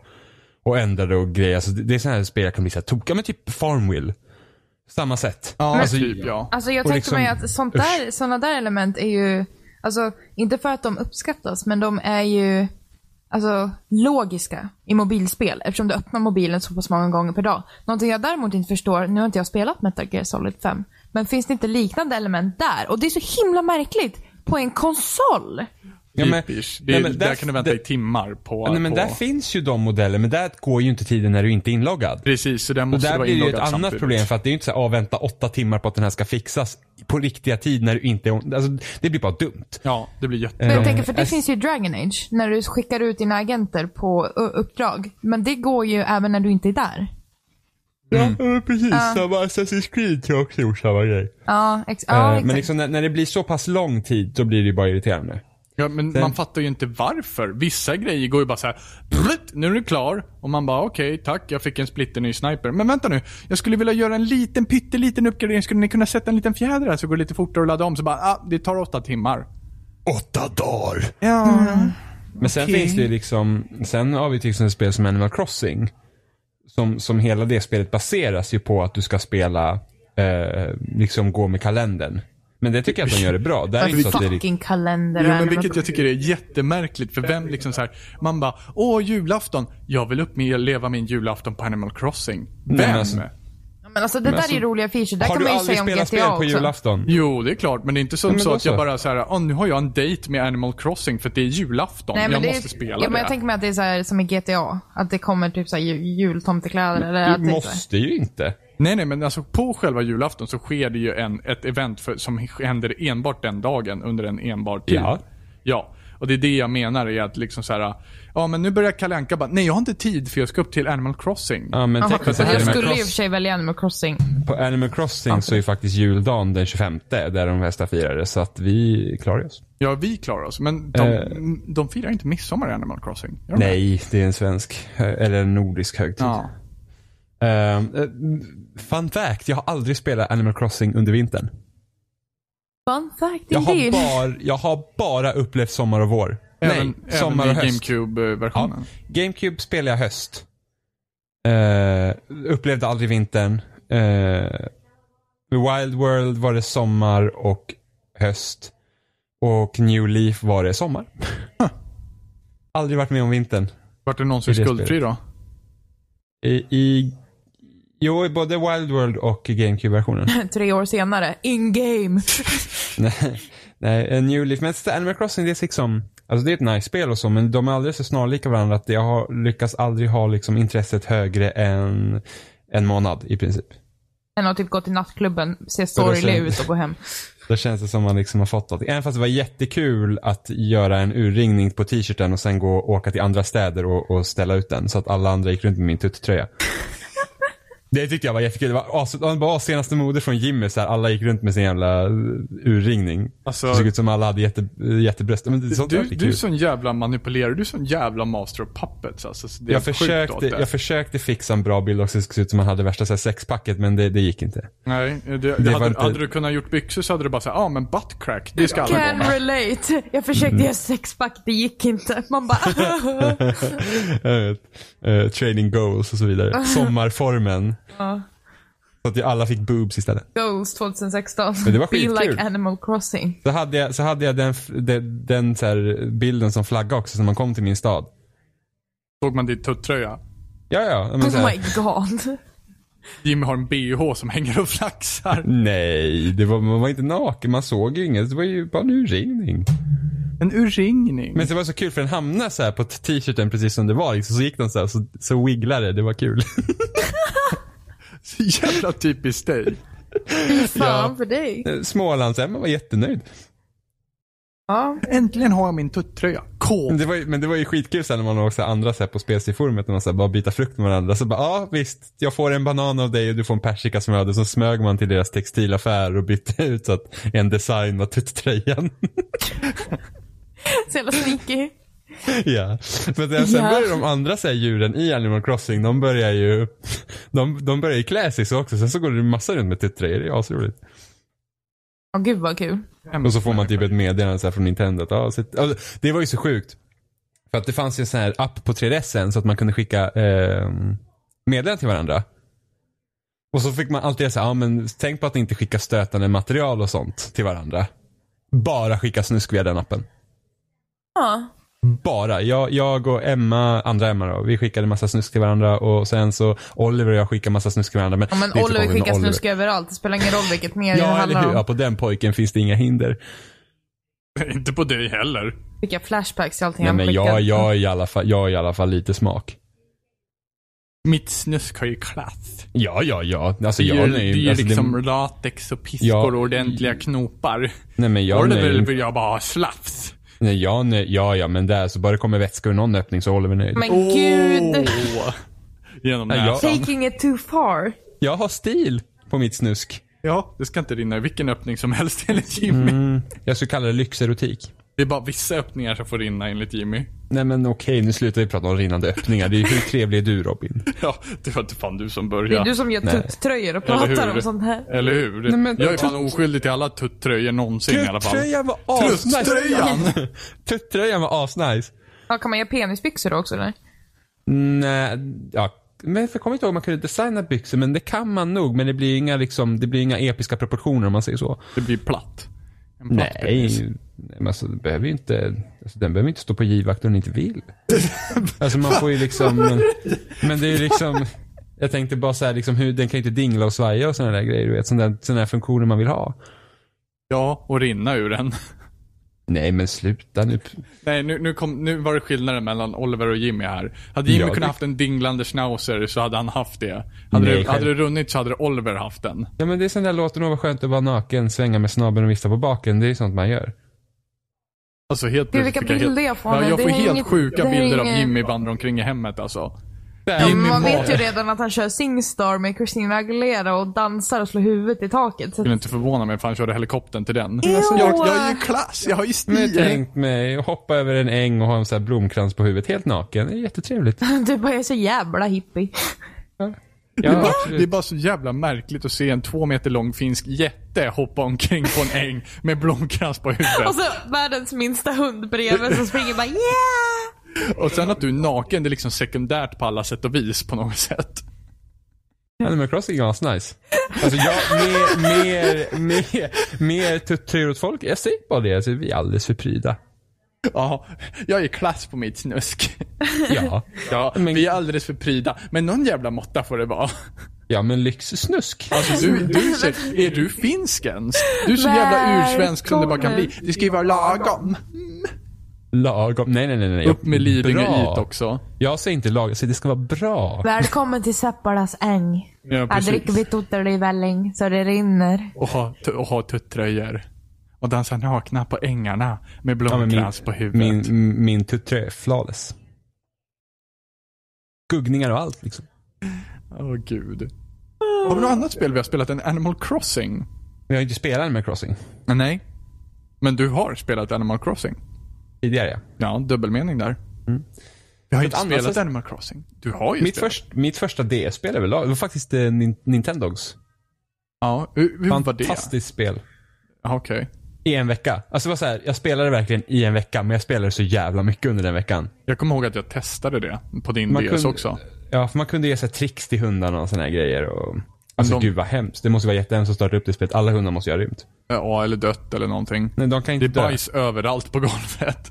Och ändrade och grejer. Alltså det det är sådana här spel jag kan bli så här tokiga med typ Farmville. Samma sätt.
Ja,
Alltså,
typ ja.
Alltså jag
Och
tänker
liksom-
mig att sånt där, såna där element är ju, alltså inte för att de uppskattas, men de är ju alltså, logiska i mobilspel eftersom du öppnar mobilen så pass många gånger per dag. Någonting jag däremot inte förstår, nu har inte jag spelat Metal Gear Solid 5, men finns det inte liknande element där? Och det är så himla märkligt på en konsol.
Ja, men-
Typiskt. Det,
nej, men
där,
där-
kan du vänta
där-
i timmar på...
Ja, Nej, men
på...
där finns ju de modeller, men där går ju inte tiden när du inte är inloggad.
Precis, så där
Och
måste du
där
vara
blir det ju ett
inloggad
annat
samtidigt.
problem för att det är ju inte så här, "Ah, vänta åtta timmar på att den här ska fixas på riktiga tid när du inte är on- alltså, Det blir bara dumt.
Ja, det blir jätte...
Men jag
Eh,
tänker, för det
alltså-
finns ju i Dragon Age, när du skickar ut dina agenter på ö, uppdrag. Men det går ju även när du inte är där.
Ja, precis. Samma Assassin's Creed tror jag också gjort samma grej.
Ja, ex- ja exakt.
men liksom, när, när det blir så pass lång tid, då blir det ju bara irriterande.
Ja, men man fattar ju inte varför. Vissa grejer går ju bara så här. "Brutt, nu är du klar. Och man bara okej, tack, jag fick en splitterny sniper. Men vänta nu, jag skulle vilja göra en liten pytteliten uppgradering. Skulle ni kunna sätta en liten fjäder här så går det lite fortare att ladda om? Så bara, ah, det tar åtta timmar.
Åtta dagar!
Ja.
Mm. Men sen finns det ju liksom, sen har vi till exempel spel som Animal Crossing. Som, som hela det spelet baseras ju på att du ska spela, eh, liksom gå med kalendern. Men det tycker jag att de gör det bra. Där är det inte så att det är riktigt...
Alltså, fucking
Mm.
kalender.
Jo,
och
men
Animal
vilket jag tycker är jättemärkligt. För vem liksom så här, man bara, åh julafton. Jag vill uppleva min julafton på Animal Crossing. Vem?
men alltså-
Ja, Men alltså det där är ju roliga feature. Där
Har
kan
du
man ju
aldrig
säga om GTA
spelat spel på
också.
julafton?
Jo, det är klart. Men det är inte som
men
så
då
att jag
så.
bara så här, "Ah, nu har jag en dejt med Animal Crossing för att det är julafton.
Nej, men
jag
det är-
måste spela
ja,
det.
Men jag tänker mig att det är så här, som i GTA. Att det kommer typ så här, ju- jultomtekläder. Eller att
Du
det är så här.
måste ju inte.
Nej, nej, men alltså på själva julafton så sker det ju en, ett event för, som händer enbart den dagen under en enbart tid.
Ja.
Ja. Och det är det jag menar är att liksom så här, ja men nu börjar Kalle Anka bara, nej jag har inte tid för jag ska upp till Animal Crossing.
Ja, men
Jaha,
tekniskt sett
jag
Animal
skulle ju i och
Crossing-
för sig välja Animal Crossing.
På Animal Crossing så är ju faktiskt juldagen den 25 där de flesta firade så att vi klarar oss.
Ja, vi klarar oss. Men de,
Eh.
de firar inte midsommar i Animal Crossing. Gör de det?
Nej, det är en svensk hö- eller en nordisk högtid.
Ja.
Ehm, eh, fun fact, jag har aldrig spelat Animal Crossing under vintern.
Fun fact
Jag har,
indeed.
bara, jag har bara upplevt sommar och vår.
Även,
Nej,
även
sommar och
i
höst. Ja,
GameCube-versionen.
GameCube spelade jag höst. Eh, upplevde aldrig vintern. Eh, Wild World var det sommar och höst. Och New Leaf var det sommar. aldrig varit med om vintern.
Vart det någonsin
I det
skuldfri
spelet.
då?
I, i, jo, i både Wild World och i GameCube-versionen.
*laughs* Tre år senare.
*laughs*
In game.
Nej, *laughs* nej, en New Leaf. Men så Animal Crossing det är liksom, alltså det är ett nice spel och så, men de är alldeles så snarlika varandra att jag har lyckas aldrig ha liksom intresset högre än en månad i princip.
En har typ gått till nattklubben, ser
då
sorglig
ser-
ut och gå hem.
Då känns det som man liksom har fått något. Även fast det var jättekul att göra en urringning på t-shirten och sen gå
*laughs*
och åka till andra städer och, och ställa ut den så att alla andra gick runt med min tuttitröja. Det tyckte jag var jättekul. Det var, as, det var as- senaste mode från Jimmy. Så här, alla gick runt med sin jävla eh, urringning.
Alltså-
det såg ut som alla hade jätte, jättebröst. Men det, sånt var
Du,
lite
du är
kul.
sån jävla manipulerare. Du är sån jävla master of puppets. Alltså, så det är
Jag
sjukt åt
försökte,
det.
jag försökte fixa en bra bild också. Det såg ut som man hade värsta så här, sexpacket men det, det gick inte.
Nej, det, det,
var
hade,
inte-
hade du kunnat gjort byxor så hade du bara sagt ja ah, men butt crack, det ska alla gå
Can
med.
relate. Jag försökte
Mm.
göra sexpack, det gick inte.
*laughs*
Man bara...
Eh, eh, training goals och så vidare. Sommarformen.
Ja.
Så att ju alla fick boobs istället.
Goals 2016.
Men det var
Be
skitkul.
like Animal Crossing.
Så hade jag, så hade jag den, f- den, den så här bilden som flagga också när man kom till min stad.
Såg man din tuttröja?
Ja, ja. Men så
Oh
här, *laughs*
my god.
Jimmy har en bh som hänger och flaxar.
nej, det var, man var inte naken. Man såg ju inget. Det var ju bara en urringning.
En urringning.
Men det var så kul för den hamnade så här på t- t-shirten precis som det var. Liksom, så gick den så här så, så wigglade det. Det var kul. *laughs*
Så jävla typiskt dig.
Fan för dig.
Smålands-Emma var jättenöjd. *laughs*
Ja.
Äntligen har jag min tuttröja. K. *laughs*
Men det var, ju- men det var ju skitkul sen när man också andra så här på spelsidforumet när man så här bara byter frukt med varandra. Så bara, ja visst, jag får en banan av dig och du får en persika som jag hade. Så smög man till deras textilaffär och bytte ut så att en design var tuttröjan. *laughs*
Så jävla sneaky.
ja. Men sen, sen
Ja.
börjar de andra så här, djuren i Animal Crossing, de börjar ju, de, de börjar ju klä sig så också. Sen så går det massa runt med tuttröjor, det är asroligt.
Åh gud vad kul.
Och så får man typ ett meddelande så här från Nintendo. Att, ja, så, alltså, det var ju så sjukt. För att det fanns ju en sån här app på 3DSen så att man kunde skicka eh, meddelanden till varandra. Och så fick man alltid säga, ja men tänk på att inte skicka stötande material och sånt till varandra. Bara skicka snusk via den appen.
Ja.
Bara. Jag, jag och Emma, andra Emma då, vi skickade massa snusk till varandra och sen så Oliver och jag skickade massa snusk till varandra. Men,
ja men
det är så
Oliver
konstigt med
skickar snusk överallt. Det spelar ingen roll vilket medium det
Ja, eller
handlar
hur? Ja,
om.
på den pojken finns det inga hinder.
Inte på dig heller.
Skicka flashbacks till allting
Nej,
han
men
skickar.
jag, jag, har i alla fall, jag har i alla fall lite smak.
Mitt snusk har ju klass.
Ja, ja, ja. Alltså,
Det är
jag
ju, det är
nöjer
ju
alltså,
liksom
det,
latex och piskor
Ja.
och ordentliga knopar.
Nej, men jag
Oliver
nöjer
vill jag bara ha slafs.
nej, jag nöj, Ja, ja, men där så bara det kommer vätska ur någon öppning så håller vi nöjd.
Men gud.
Åh. Oh. Genom
Nej, jag-
näsan.
Taking it too far.
Jag har stil på mitt snusk.
Ja, det ska inte rinna i vilken öppning som helst *laughs* enligt Jimmy.
Mm.
Jag skulle kalla det lyxerotik.
Det är bara vissa öppningar som får rinna enligt Jimmy. *laughs*
Nej men okej, nu slutar vi prata om rinnande öppningar. Det är, hur trevlig är du Robin?
Ja, det var inte fan du som
Det är
började.
du som gör
Nej.
tuttröjor och
Eller
pratar
hur?
om sånt här.
Eller hur?
Nej, men-
jag är fan oskyldig till alla tuttröjor någonsin *laughs* i alla fall.
Tuttröjan var asnice. *laughs*
Tuttröjan!
Tuttröjan var asnice.
Ja, kan man göra penisbyxor då också eller?
Nej, ja. Men jag kommer inte ihåg om man kunde designa byxor, men det kan man nog. Men det blir inga, liksom, det blir inga episka proportioner om man säger så.
Det blir platt. En platt penis.
Nej, nej men alltså, det behöver ju inte, alltså, den behöver inte stå på givakt om den inte vill. Alltså man får ju liksom, men, men det är ju liksom, jag tänkte bara så här, liksom, hur, den kan ju inte dingla och svaja och sådana där grejer, du vet. Sådana, sådana här funktioner man vill ha.
Ja, och rinna ur den. *laughs*
Nej men sluta nu.
Nej, nu, nu, kom, nu var det skillnaden mellan Oliver och Jimmy här. Hade Jimmy
Ja, det-
kunnat haft en dinglande schnauzer så hade han haft det. Hade,
Nej,
det, hade det
själv-
runnit så hade det Oliver haft den.
Ja men det är sån där låten, åh vad skönt att vara naken, svänga med snabeln och vifta på baken. Det är ju sånt man gör.
Alltså helt
Gud, vilka
plötsligt fick
bilder
helt-
jag får
Ja,
nu.
jag
Det
får
är
helt
inget-
sjuka
det är
bilder av
inget-
Jimmy vandrar omkring i hemmet alltså.
Ja,
Jimmy
men man
Mar.
vet ju redan att han kör Singstar med Christina Aguilera och dansar och slår huvudet i taket. Så
skulle inte förvåna mig för han körde helikoptern till den.
Ew.
jag, jag är ju klass, jag har ju
Men jag har
stil.
tänkt mig att hoppa över en äng och ha en sån här blomkrans på huvudet helt naken. Det är jättetrevligt.
Mm.
*laughs* du bara, jag är så jävla hippie.
Det är,
Ja,
bara, det är
absolut.
bara så jävla märkligt att se en två meter lång finsk jätte hoppa omkring på en äng med blomkrans på
Och
huvudet.
så världens minsta hund bredvid som springer bara yeah!
Och sen att du är naken, det är liksom sekundärt på alla sätt och vis på något sätt. *laughs*
Animal Crossing är asnice. Alltså jag, mer, mer, mer, mer tuttrur åt folk. Jag säger bara det, alltså, vi är alldeles för pryda.
Ja, jag är klass på mitt snusk.
Ja.
*laughs* Ja,
Men-
vi är alldeles för pryda. Men någon jävla måtta får det vara.
Ja men lyxsnusk.
Alltså, du, du är, så, är du finsk ens? Du är så jävla ursvensk som det bara kan bli. Det ska ju vara lagom.
Lagom. Nej nej nej. nej.
Upp med Lidingö
Bra.
hit också.
Jag säger inte lagom, jag säger det ska vara bra.
Välkommen till Seppalas äng.
Ja,
Här
precis.
dricker vi totter i välling så det rinner.
Och ha, tu- och ha tuttröjor. Och dansa nakna på ängarna med
Ja, men min,
blomkrans på huvudet.
min, min tuttrö är flawless. Guggningar och allt liksom.
Åh gud. Har vi något annat spel vi har spelat än Animal Crossing?
Men jag har inte spelat Animal Crossing
Nej. Men du har spelat Animal Crossing?
tidigare. ja.
Ja, dubbelmening där. Jag har inte
Mm. annat
spelat
sätt-
Animal Crossing. Du har ju
Mitt,
spelat.
först, mitt första DS-spel överlag, det var faktiskt eh, Nin- Nintendogs.
Ja, hur, hur var det?
Fantastiskt spel.
Ja, Okej.
I en vecka. Alltså det var så här, jag spelade verkligen i en vecka, men jag spelade så jävla mycket under den veckan.
Jag kommer ihåg att jag testade det på din
Man
DS
kunde-
också.
Ja, för man kunde ge så här tricks till hundarna och såna här grejer. Och, alltså
de-
gud vad hemskt. Det måste vara jättehemskt att starta upp det spelet. Alla hundar måste ju ha rymt.
Eh, Ja, eller dött eller någonting.
Nej, de kan
Det
inte
är
dö.
bajs överallt på golvet.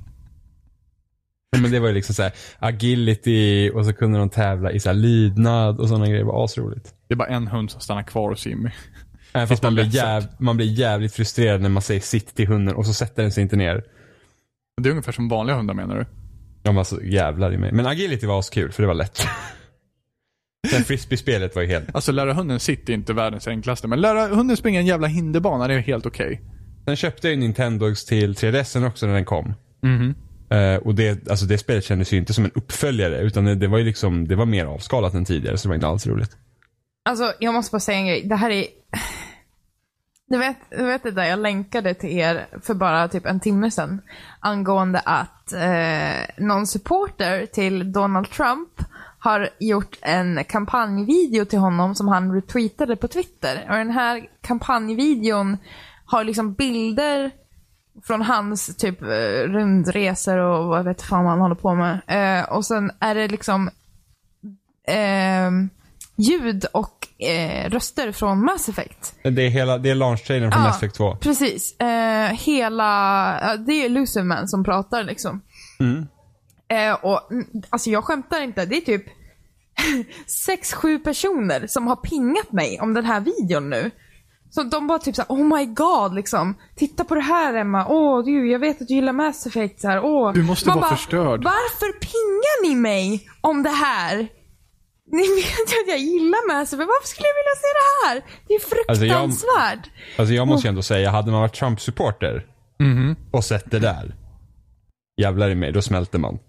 *laughs*
Nej, Men det var ju liksom så här agility och så kunde de tävla i så här lydnad och sådana grejer. Det var asroligt.
Det är bara en hund som stannar kvar hos Jimmy. *laughs*
Även fast
Hitta
man blir,
lätt sätt.
jäv, man blir jävligt frustrerad när man säger sitt till hunden och så sätter den sig inte ner.
Det är ungefär som vanliga hundar menar du?
De var så jävlar i mig. Men agility var askul för det var lätt. *laughs* Sen frisbee-spelet var ju helt...
Alltså lära hunden sitt är inte världens enklaste, men lära hunden springa en jävla hinderbana, det är helt okej. *laughs*
Sen köpte jag ju Nintendogs till 3DSen också när den kom. Eh, och det, alltså det spelet kändes ju inte som en uppföljare utan det, det var ju liksom, det var mer avskalat än tidigare så det var inte alls roligt.
Alltså, jag måste bara säga en grej. Det här är... *sighs* Du vet, du vet det där jag länkade till er för bara typ en timme sedan. Angående att eh, någon supporter till Donald Trump har gjort en kampanjvideo till honom som han retweetade på Twitter. Och den här kampanjvideon har liksom bilder från hans typ eh, rundresor och vad vet fan han håller på med. Eh, och sen är det liksom ehm, ljud och eh, röster från Mass Effect.
Men Det är hela, det är launch-trailern från
Ja,
Mass Effect 2.
Precis. Eh, hela, ja, det är Lucerman som pratar liksom.
Mm.
Eh, och, mm, alltså jag skämtar inte, det är typ *laughs* sex sju personer som har pingat mig om den här videon nu. Så de bara typ såhär, oh my god liksom. Titta på det här Emma. Åh du, jag vet att du gillar Mass Effect. Så här. Åh.
Du måste
Man
vara
bara,
förstörd.
Varför pingar ni mig om det här? Ni *laughs* vet ju att jag gillar Mass Effect. Varför skulle jag vilja se det här? Det är
Alltså, jag-
fruktansvärt.
Alltså jag måste ju ändå säga, hade man varit Trump-supporter och sett det där. Jävlar i mig, då smälter man.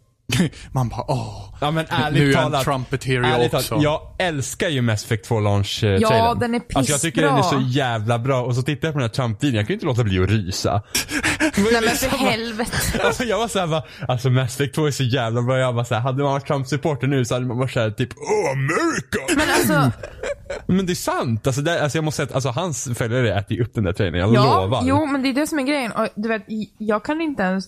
Man bara åh.
Ja men
nu är
ärligt
jag en
talat.
trumpeteer jag
ärligt
också.
talat, jag älskar ju Mass Effect 2 launch eh,
Ja,
trailern.
den är
Alltså jag tycker den är så
pissbra.
jävla bra och så tittar jag på den här Trump-videon, jag kan ju inte låta bli att rysa. *laughs*
Nej men för helvete.
Alltså jag var såhär bara, alltså Mass Effect 2 är så jävla bra. Jag bara såhär, hade man varit Trump-supporter nu så hade man varit såhär typ Åh, America!
Men alltså,
Men det är sant! Alltså, det, alltså jag måste säga att alltså, hans följare äter ju upp den där trailern, jag
ja,
lovar.
jo men det är det som är grejen. Och, du vet, j- jag kan inte ens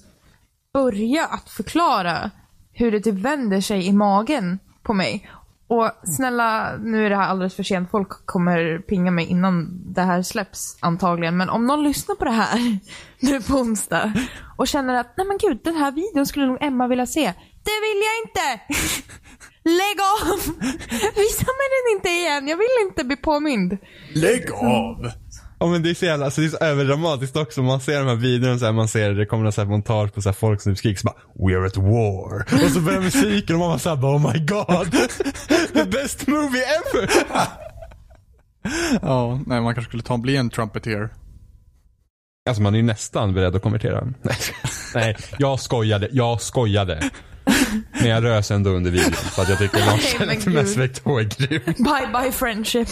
börja att förklara hur det typ vänder sig i magen på mig. Och snälla, nu är det här alldeles för sent. Folk kommer pinga mig innan det här släpps antagligen. Men om någon lyssnar på det här *laughs* nu på onsdag och känner att nej men gud, den här videon skulle nog Emma vilja se. Det vill jag inte! *laughs* Lägg av! *laughs* Visa mig den inte igen. Jag vill inte bli påmind.
Lägg
*laughs*
av!
Ja men det är så jävla, alltså det är så överdramatiskt också. Man ser de här videorna så här, man ser det kommer några så här montage på så här folk som skriker så bara We are at war. Och så börjar musiken och man bara såhär bara oh my god. *laughs* The best movie ever.
Ja, nej man kanske skulle ta bli en trumpeteer.
Alltså man är ju nästan beredd att konvertera. Nej, *laughs* Nej, jag skojade, jag skojade. Men jag rös ändå under videon för att jag tycker Lars
Nej, men
till Mass
gud.
Effect 2 är grym.
Bye bye friendship.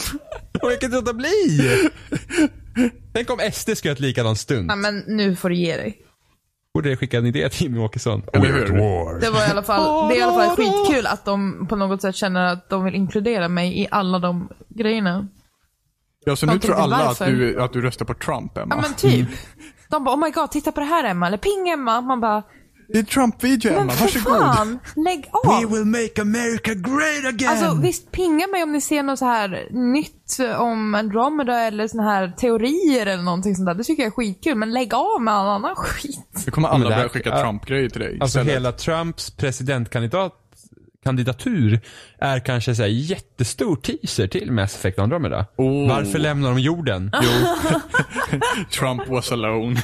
Och jag kan inte låta bli! Tänk om SD skulle göra ett likadant stund.
Nej men nu får du ge dig.
Borde skicka en idé till Jimmie Åkesson.
Eller
We are at
hur?
war.
Det, var i alla fall, det är i alla fall skitkul att de på något sätt känner att de vill inkludera mig i alla de grejerna.
Ja, så nu
Jag
tror
tänkte,
alla att
varför?
du, att du röstar på Trump, Emma.
Ja men typ. De bara oh my god, titta på det här Emma. Eller ping Emma. Man bara,
Det är Trump-video, Emma.
men för
Varsågod.
fan. Lägg av.
will make America great again!
Alltså visst, pinga mig om ni ser något så här nytt om Andromeda eller såna här teorier eller någonting sånt där. Det tycker jag är skitkul. Men lägg av med all annan skit.
Nu kommer alla
det här-
börja skicka
ja.
Trump-grejer till dig
Alltså
istället.
hela Trumps presidentkandidatur är kanske så här jättestor teaser till Mass Effect Andromeda.
Oh.
Varför lämnar de jorden? Jo,
*laughs* Trump was alone.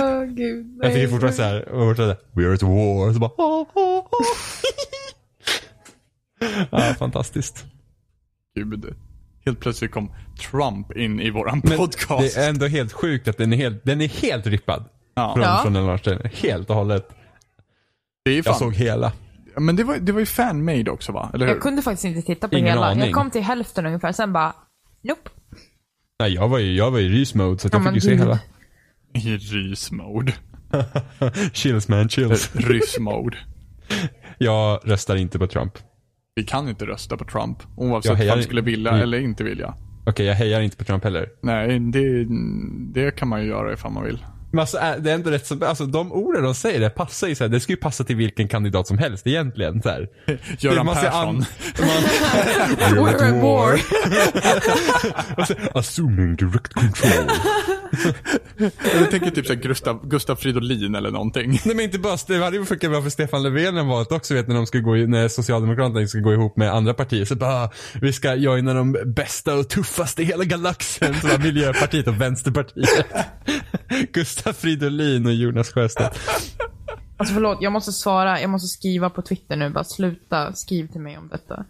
Åh gud.
jag tycker fortfarande så här, och fortfarande, we are at war. Så bara, oh, oh, oh. *laughs* ja, fantastiskt.
Gud. Helt plötsligt kom Trump in i våran
Men
podcast.
Det är ändå helt sjukt att den är helt, den är helt rippad.
Ja.
Från,
Ja.
från den launchtrailern. Helt och hållet.
Det är
Jag
fan
såg hela.
Men det var, det var ju fan-made också va? Eller hur?
Jag kunde faktiskt inte titta på
Ingen
hela.
aning.
Jag kom till hälften ungefär, sen bara nope.
Nej, jag var ju, jag var i rys-mode så att
Ja,
jag
men
fick ju se
gud.
hela.
I rys-mode.
*laughs* Chills man, chills.
Ryss-mode.
Jag röstar inte på Trump. Okej,
Vi kan inte rösta på Trump.
Jag
Oavsett om
hejar
han
i-
skulle vilja
Mm.
eller inte vilja.
jag hejar inte på Trump heller.
Nej, det, det kan man ju göra ifall man vill.
Men alltså, är- det är ändå rätt så, alltså de orden de säger det passar ju så här, det ska ju passa till vilken kandidat som helst egentligen. Så här.
Göran
Man ser
Persson. *laughs*
an- man-
*laughs* We're at war.
Och så, Alltså, Assuming direct control.
Jag tänker typ såhär Gustav, Gustav Fridolin eller någonting.
*laughs*
*laughs*
Nej men inte bara, det hade ju funkat bra för Stefan Löfven när valet också vet när de ska gå, i- när Socialdemokraterna ska gå ihop med andra partier så bara, vi ska joina de bästa och tuffaste i hela galaxen. Så bara Miljöpartiet och Vänsterpartiet. *laughs* Gustaf Fridolin och Jonas Sjöstedt.
Alltså förlåt, jag måste svara. Jag måste skriva på Twitter nu. Bara sluta skriv till mig om detta.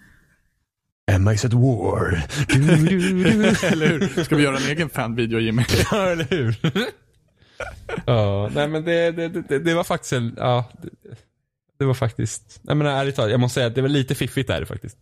Am I at war? Du, du, du.
Eller hur? Ska vi göra en egen fanvideo Jimmy?
*laughs* Ja, eller hur? *laughs* ja, nej men det, det, det, det var faktiskt en, ja. Det, det var faktiskt, jag menar ärligt talat, jag måste säga att det var lite fiffigt där faktiskt.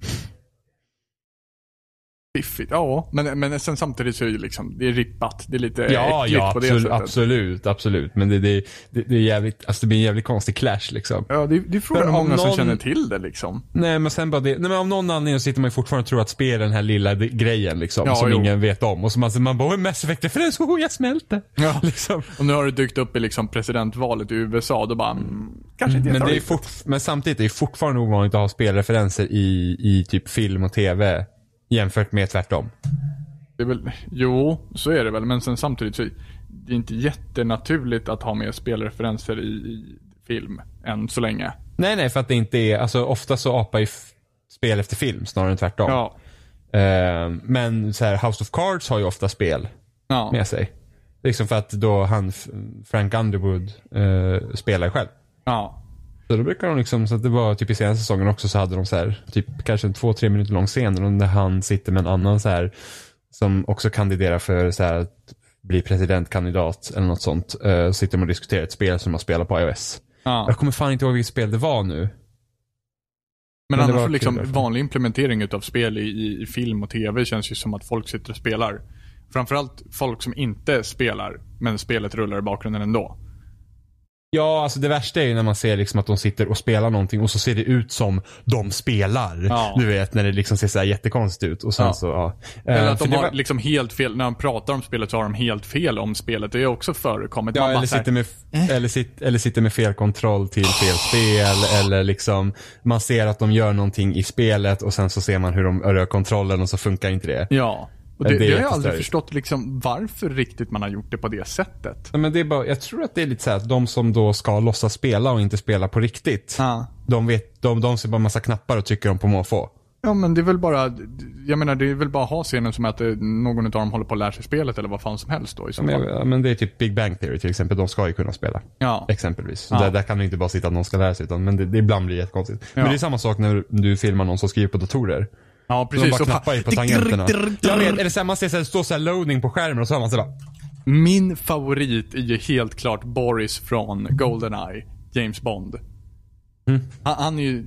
Fiffigt. Ja, men, men sen samtidigt så är det ju liksom, det är rippat. Det är lite
Ja,
äckligt
ja
Eh, på det
absolut,
sättet.
absolut, absolut. Men det, det, det, det är jävligt, alltså det blir en jävligt konstig clash liksom.
Ja, det, det är frågan
För
hur
om
många som
någon-
känner till det liksom.
Nej men sen bara det, nej men av någon anledning så sitter man ju fortfarande och tror att spel är den här lilla de- grejen liksom.
Ja,
som
jo.
ingen vet om. Och så man, man bara, "Oj, Mass Effect-referens, oh, jag smälter.
Ja.
*laughs* Liksom.
Och nu har det dykt upp i liksom presidentvalet i USA, då bara, mm, kanske inte
Men, det är
jätteroligt.
fort, men samtidigt är det fortfarande ovanligt att ha spelreferenser i, i typ film och tv. Jämfört med tvärtom.
Det är väl, jo, så är det väl. Men sen samtidigt så är det inte jättenaturligt att ha med spelreferenser i, i film än så länge.
Nej, nej, för att det inte är, alltså ofta så apar ju f- spel efter film snarare än tvärtom.
Ja.
Eh, men så här, House of Cards har ju ofta spel
Ja.
med sig. Liksom för att då han, F- Frank Underwood, eh, spelar själv.
ja.
Så då brukar de liksom, så att det var typ i senaste säsongen också så hade de så här, typ kanske en två, tre minuter lång scen där han sitter med en annan så här, som också kandiderar för så här att bli presidentkandidat eller något sånt. Eh, sitter de och diskuterar ett spel som man spelar på iOS.
ja.
Jag kommer fan inte ihåg vilket spel det var nu.
Men,
det
annars
var
så
kul alltså.
liksom
därför.
vanlig implementering utav spel i, i, i film och tv känns ju som att folk sitter och spelar. Framförallt folk som inte spelar, men spelet rullar i bakgrunden ändå.
Ja, alltså det värsta är ju när man ser liksom att de sitter och spelar någonting och så ser det ut som de spelar.
Ja.
Du vet, när det liksom ser så här jättekonstigt ut. Och sen
Ja.
så, ja.
Eller
Eh,
att
för
de
det
har
var-
liksom helt fel, när de pratar om spelet så har de helt fel om spelet. Det är också förekommit. Man
Ja,
bara
eller
så här,
sitter, med, eller, sit, eller sitter med fel kontroll till fel spel. Eller liksom, man ser att de gör någonting i spelet och sen så ser man hur de rör kontrollen och så funkar inte det.
Ja. Och
Ja,
det,
det
det
är
har jag aldrig
jättestörigt.
förstått liksom varför riktigt man har gjort det på det sättet.
Nej, men det är bara, jag tror att det är lite så här att de som då ska låtsas spela och inte spela på riktigt.
Ja.
De, vet, de, de ser bara massa knappar och trycker dem på måfå.
Ja men det är väl bara, jag menar det är väl bara att ha scenen som att eh, någon av dem håller på att lära sig spelet eller vad fan som helst då i så
Men,
fall.
jag- men det är typ Big Bang Theory till exempel. De ska ju kunna spela.
Ja.
Exempelvis. Så
Ja.
Där, där kan det inte bara sitta att någon ska lära sig. Utan, men det, det ibland blir det jättekonstigt. Men
Ja.
det är samma sak när du filmar någon som skriver på datorer.
Ja
Precis,
precis.
de bara
Så
knappar ju på tangenterna. Jag vet, eller så här, man ser så här, det står så här loading på skärmen och så har man så här bara,
Min favorit är ju helt klart Boris från Goldeneye, James Bond.
Mm.
Han, han är ju,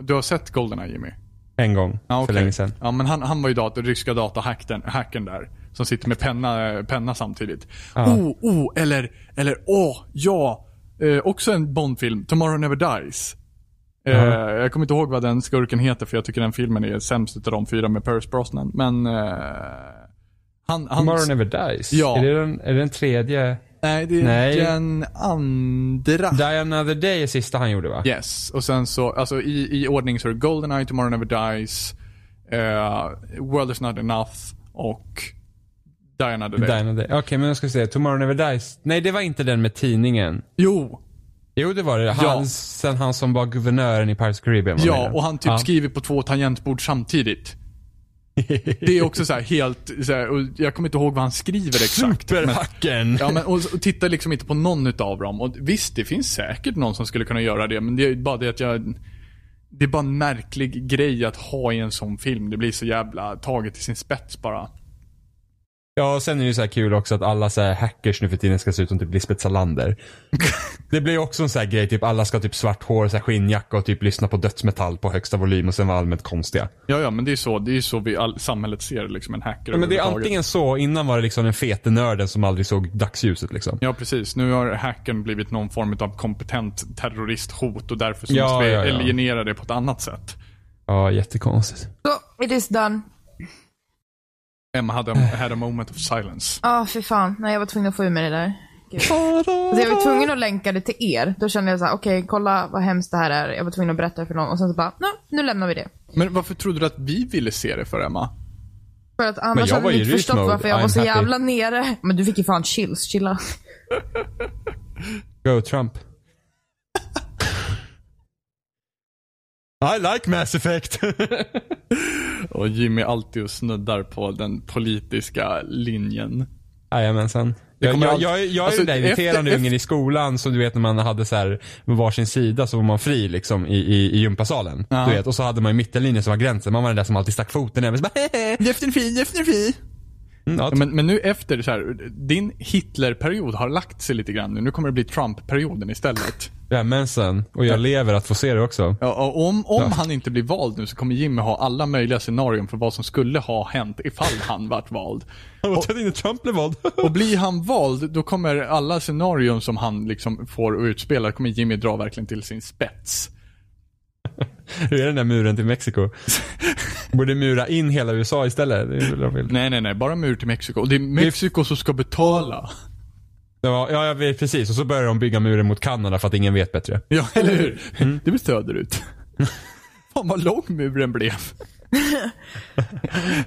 du har sett Goldeneye Jimmy?
en gång
Ja,
för
okej.
länge sedan.
Ja, men han, han var ju dat- ryska datahacken hacken där. Som sitter med penna, penna samtidigt. Oh, oh, eller, eller åh, ja. Eh, också en Bondfilm, Tomorrow Never Dies. Eh, Jag kommer inte ihåg vad den skurken heter för jag tycker den filmen är sämst utav de fyra med Pierce Brosnan. Men... Eh, han, han,
Tomorrow Never Dies.
Ja.
Är, det den, är det den tredje?
Nej, det är
Nej.
den andra.
Die Another Day är sista han gjorde va?
Yes, och sen så, alltså i, i ordning så är det Goldeneye, Tomorrow Never Dies, eh, World Is Not Enough och Diana the Day.
Die Another Day. Okej, men jag ska se. Tomorrow Never Dies. Nej, det var inte den med tidningen.
Jo,
Jo, det var det. Han,
Ja.
Sen han som var guvernören i Pirates of Caribbean. var med i
ja,
den.
och han typ skriver på två tangentbord samtidigt. Det är också så här helt, så här, och jag kommer inte ihåg vad han skriver exakt. men-
Superhacken!
Ja, men, och, och titta liksom inte på någon utav dem. Och visst, det finns säkert någon som skulle kunna göra det, men det är ju bara det att jag... Det är bara en märklig grej att ha i en sån film. Det blir så jävla taget i sin spets bara.
Ja, och sen är det ju så här kul också att alla så här hackers nu för tiden ska se ut som typ Lisbeth Salander. *laughs* det blir också en så här grej, typ alla ska ha typ svart hår, så här skinnjacka och typ lyssna på dödsmetall på högsta volym och sen vara allmänt konstiga.
Ja, ja, men det är så, det är så vi all, samhället ser liksom en hacker
Ja, men det är
överhuvudtaget.
antingen så, innan var det liksom den fete nörden som aldrig såg dagsljuset liksom.
Ja, precis. Nu har hackern blivit någon form av kompetent terroristhot och därför så
Ja,
måste vi
ja, ja.
eliminera det på ett annat sätt.
Ja, jättekonstigt.
Så, it is done.
Emma
*sighs*
hade, had a moment of silence.
Ja, fy fan. Nej, jag var tvungen att få ur mig det där. Gud. Alltså, jag var tvungen att länka det till er. Då kände jag så här, okej, kolla vad hemskt det här är. Jag var tvungen att berätta det för någon. Och sen så bara, nej, nu lämnar vi det.
Men varför trodde du att vi ville se det för Emma?
För att annars
jag
hade
var
ni
i
inte
reach
förstått
mode.
varför jag
I'm
var så
happy.
jävla nere. Men du fick ju fan chills. Chilla.
Go *laughs* Trump. I like Mass Effect.
Och Jimmy alltid och snuddar på den politiska linjen.
Jajamensan. Jag,
kommer
jag,
allt-
jag, är- jag är
alltså,
den där irriterande
efter-
ungen i skolan som du vet när man hade så här, med varsin sida så var man fri liksom i, i, i gympasalen.
Ja.
Du vet, och så hade man ju mittenlinjen som var gränsen. Man var den där som alltid stack foten även så bara *laughs* hehehe.
Eh, Definitivt, definitivt.
Mm, ja,
Men, men nu efter så här, din Hitlerperiod har lagt sig lite grann nu. Nu kommer det bli Trump-perioden istället.
Jajamensan. Och jag lever att få se det
*laughs*
också.
Ja, och om om han inte blir vald nu så kommer Jimmy ha alla möjliga scenarion för vad som skulle ha hänt ifall han vart vald.
Och att inte Trump blev vald. *laughs*
Och blir han vald, då kommer alla scenarion som han liksom får och utspelar, kommer Jimmy dra verkligen till sin spets.
Hur är den där muren
*laughs*
till Mexiko? Borde mura in hela USA istället. Det är väl vad de vill.
Nej, nej, nej. Bara mur till Mexiko. Och det är Mexiko som ska betala.
Ja, ja, jag vet, precis. Och så börjar de bygga muren mot Kanada för att ingen vet bättre.
Ja, eller hur?
Mm.
Det blir söderut. *laughs* Fan vad lång muren blev.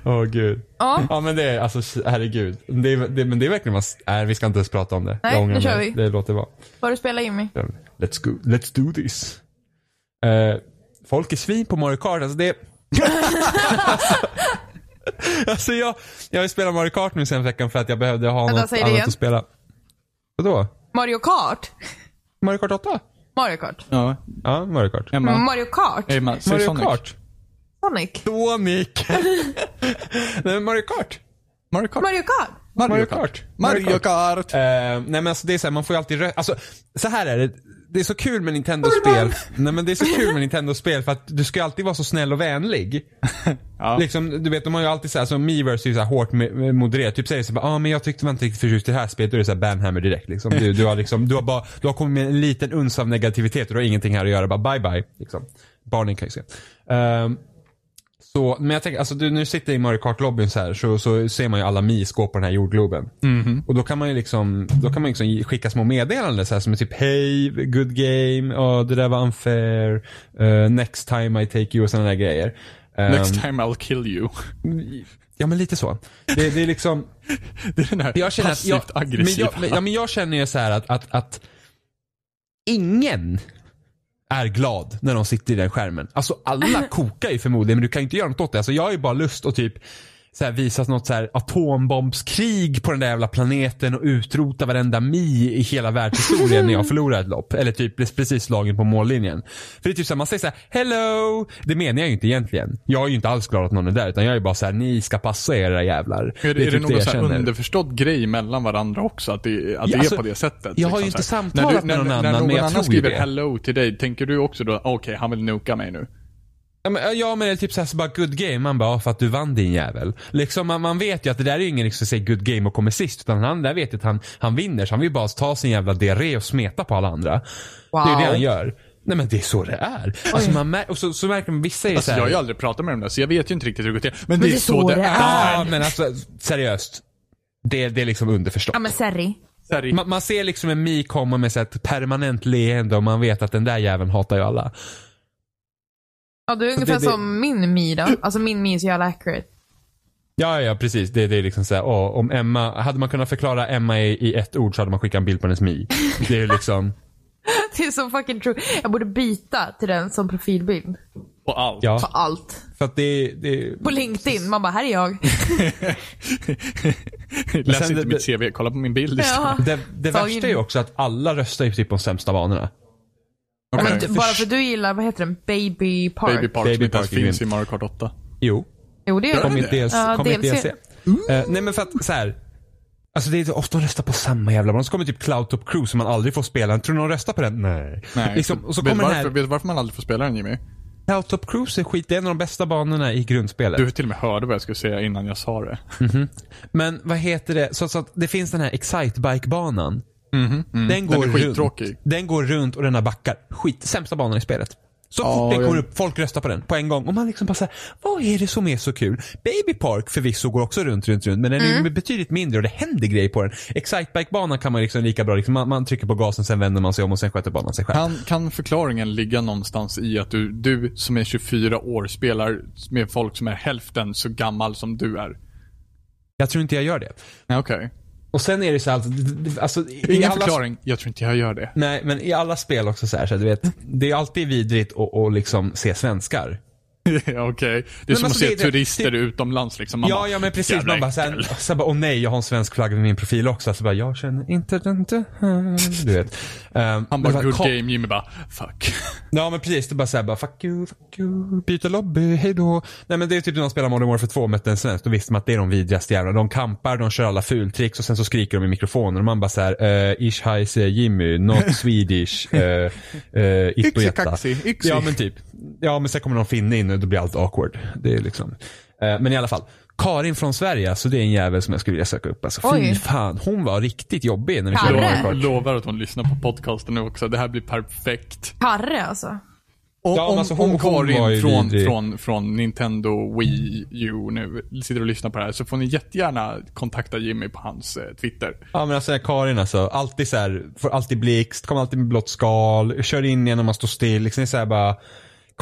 Åh gud.
Ja.
Ja men det är, alltså herregud. Det är, det, men det är verkligen man, nej vi ska inte ens prata om det.
Nej,
Jag ångrar
nu kör
mig.
vi.
Det låter vara.
Vad du spelar Jimmy?
Let's go, let's do this. Eh, folk är svin på Mario Kart, alltså det... *laughs* alltså, alltså jag, jag har ju spelat Mario Kart nu sen veckan för att jag behövde ha
Vänta,
något
säg det
annat
igen.
att spela. Vadå?
Mario Kart?
Mario Kart 8?
Mario Kart?
Ja,
Ja, Mario Kart.
Men
Emma.
Mario Kart?
Emma, säg
Mario
Sonic.
Kart.
Sonic?
Sonic.
*laughs*
nej men Mario Kart.
Mario Kart.
Mario Kart?
Mario Kart.
Mario Kart.
Eh, nej men alltså det är så här, man får ju alltid rö- alltså, så här är det. Det är så kul med Nintendo-spel. Nej men det är så kul med Nintendo-spel för att du ska ju alltid vara så snäll och vänlig.
Ja.
Liksom, du vet de har ju alltid så här, som Miiverse är ju så här hårt med- med- modererat. Typ säger så bara, ah, men jag tyckte man inte riktigt förtjust i det här spelet. Då är det så här banhammer direkt liksom. Du, du har liksom, du har bara, du har kommit med en liten uns av negativitet och du har ingenting här att göra. Bara bye bye. Liksom. Barnen kan ju se. Ehm, så, men jag tänker, alltså du, nu sitter jag i Mario Kart-lobbyn så här så, så ser man ju alla Mi-skåp på den här jordgloben. Och då kan man ju liksom, då kan man liksom skicka små meddelanden så här som är typ Hej, good game, ja det där var unfair, Eh, next time I take you och sådana där grejer. Ehm, Mm.
Next time I'll kill you.
Ja men lite så. Det, det är liksom,
Det är den här
jag känner att jag,
passivt
men
aggressiva.
jag, men, ja, men jag känner ju så här att, att, att ingen är glad när de sitter i den skärmen. Alltså alla kokar ju förmodligen men du kan ju inte göra något åt det. Alltså jag har ju bara lust att typ så här, visa något så här atombombskrig på den där jävla planeten och utrota varenda mi i hela världshistorien när jag förlorar ett lopp. Eller typ precis slagen på mållinjen. För det är typ så här, man säger så här hello. Det menar jag ju inte egentligen. Jag är ju inte alls glad att någon är där utan jag är ju bara så här ni ska passa er era jävlar.
Är det, är det
typ
någon
jag
så här
känner.
underförstådd grej mellan varandra också? Att det, att det
Ja, alltså,
är på det sättet? liksom,
jag har ju inte
så här.
samtalat
När
med någon
när,
annan,
När någon
men jag
annan
tror ju
skriver
det.
hello till dig, tänker du också då, okej, han vill nuka mig nu?
Ja men, ja, men det är typ såhär, så bara good game. Man bara, ja, för att du vann din jävel. Liksom, man, man vet ju att det där är ju ingen liksom, som säger good game och kommer sist. Utan han där vet ju att han, han vinner. Så han vill bara ta sin jävla diarré och smeta på alla andra. Det är ju det
Wow.
han gör. Nej men det är så det är. Alltså, man mär- och så, så märker man, vissa är ju
Alltså,
såhär.
jag har ju aldrig pratat med dem där, så jag vet ju inte riktigt hur det går till. Men, det är så det är.
Ja men alltså seriöst. Det, det är liksom underförstått.
Ja men Serri.
Sorry.
Man, man ser liksom en Mi komma med så här ett permanent leende och man vet att den där jäveln hatar ju alla.
Ja du är ungefär
det-
som min Mi då. Alltså min Mi är så jävla accurate. *laughs*
Ja, ja, precis. Det, det är liksom såhär, åh, om Emma, hade man kunnat förklara Emma i, i ett ord så hade man skickat en bild på hennes mi. Det är liksom,
Det är så fucking true. Jag borde byta till den som profilbild.
På allt.
På
ja.
*laughs* allt.
För att det, det
På LinkedIn. Man bara, här är jag.
*laughs* Läs
sen
inte
det-
mitt CV, kolla på min bild istället.
Ja.
det, det
Ta
värsta
in.
är ju också att alla röstar ju typ på de sämsta vanorna.
Okej.
Men du, bara för att du gillar, vad heter den? Baby Park?
Baby Park
Baby
som inte ens
Park är
finns i Mario Kart 8.
Jo,
Jo det gör
kom
den.
i ett DLC.
Ja,
kom i ett
DLC.
DLC. Eh, nej men för att så här. Alltså det är så ofta de röstar på samma jävla band. Så kommer typ Cloudtop Crew som man aldrig får spela. Tror du någon röstar på den? Nej.
Nej.
Liksom, och så
vet,
kommer den
varför,
här.
vet du varför man aldrig får spela den Jimmy?
Cloudtop Cruise är skit. Det är en av de bästa banorna i grundspelet.
Du till och med hörde vad jag skulle säga innan jag sa det.
Men vad heter det? Så, så att det finns den här Excitebike-banan. Den, går
Mhm, är skittråkig.
runt. Den går runt och den har backar. Skit. Sämsta banan i spelet. Så
Ja,
fort den
jag-
kommer upp, folk röstar på den på en gång. Och man liksom bara såhär, vad är det som är så kul? Baby Park förvisso går också runt, runt, runt. Men den är ju betydligt mindre och det händer grejer på den. Excitebike-banan kan man liksom lika bra, liksom, man, man trycker på gasen, sen vänder man sig om och sen sköter banan sig själv.
Kan, kan förklaringen ligga någonstans i att du, du som är 24 år spelar med folk som är hälften så gammal som du är?
Jag tror inte jag gör det.
Nej, Okej.
Och sen är det så här, alltså, alltså i
Ingen
alla
förklaring. Jag tror inte jag gör
*laughs*
det. *laughs*
Nej, men i alla spel också så här, så här, du vet. Det är alltid vidrigt att och liksom se svenskar.
Okej. Det är som
alltså,
att se
det- det-
turister
det-
utomlands liksom. Man
ja,
bara,
ja men precis.
jävla
Man bara såhär,
äckel.
så här bara, åh nej, jag har en svensk flagga vid min profil också. Så bara, jag känner inte den där. Du vet. Um,
Han bara, good game. Jimmy bara, fuck.
Ja, men precis. Det är bara såhär, bara, fuck you, fuck you, byta lobby, hejdå. Nej men det är typ när de spelar Modern Warfare 2 med en svensk. Då visste man att det är de vidrigaste jävlarna. De kampar, de kör alla fultricks och sen så skriker de i mikrofonen. Och man bara såhär, uh, ish heise
*laughs*
Jimmy, not Swedish, uh, uh, itto
Yxi,
jätta."
kaxi, yxi.
Ja, men typ. Ja, men sen kommer någon finne in och då blir allt awkward. Det är liksom. Eh, men i alla fall. Karin från Sverige, alltså det är en jävel som jag skulle vilja söka upp. Alltså, fy
Oj.
fan, hon var riktigt jobbig när vi
Jag
körde
Karre.
Mario
lovar,
Kart.
lovar att hon lyssnar på podcasten nu också. Det här blir perfekt.
Karre alltså.
Om,
Ja, men
om,
alltså, hon-
om
hon var ju
Karin från,
vidrig.
från, från Nintendo Wii U nu sitter och lyssnar på det här så får ni jättegärna kontakta Jimmy på hans eh, Twitter.
Ja men alltså Karin alltså, alltid så här, får alltid blixt, kommer alltid med blått skal, kör in igen när man står still. Liksom det är så här bara,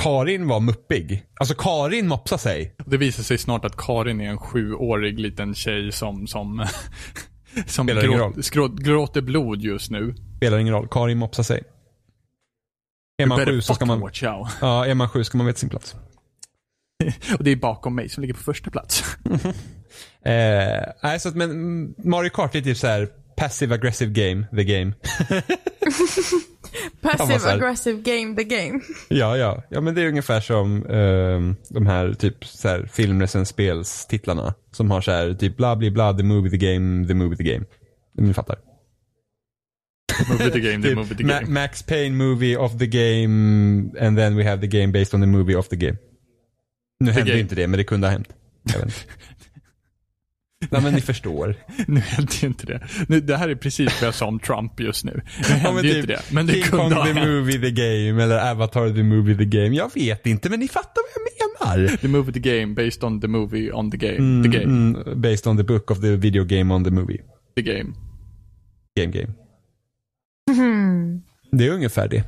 Karin var muppig. Alltså Karin mopsade sig.
Det visar sig snart att Karin är en sjuårig liten tjej som, som, *laughs* som
Spelar ingen
gråt,
roll.
skrå- gråter blod just nu.
Spelar ingen roll, Karin mopsade sig. Är man
Better
sju så ska
fucking
man,
watch out. *laughs*
ja, är man sju ska man veta sin plats.
Och det är bakom mig som ligger på första
*laughs*
plats.
Eh, nej, så att, men mm, Mario Kart är typ så här passive aggressive game, the game. Samma så
Passive
här.
aggressive game the game.
ja, ja. Ja men det är ungefär som ehm, de här typ så här filmrecenspelstitlarna. Som har så här typ bla bla bla, the movie, the game, the movie, the game. Ni fattar.
Move the game, the
Typ
move the
Ma-
game.
Max Payne movie of the game and then we have the game based on the movie of the game. Nu hände
game.
inte det, men det kunde ha hänt.
*laughs*
Jag vet inte. Nej men ni förstår.
Nu hände ju inte det. Nu, det här är precis vad jag sa om Trump just nu. Nu
Ja,
hände
men
ju
typ
inte det. Men det
King
kunde
Kong
ha
the
hänt.
movie the game eller Avatar the movie the game. Jag vet inte men ni fattar vad jag menar.
The movie the game based on the movie on the game. the game.
Mm, based on the book of the video game on the movie.
The game.
Game game.
Mhm.
Det är ungefär det.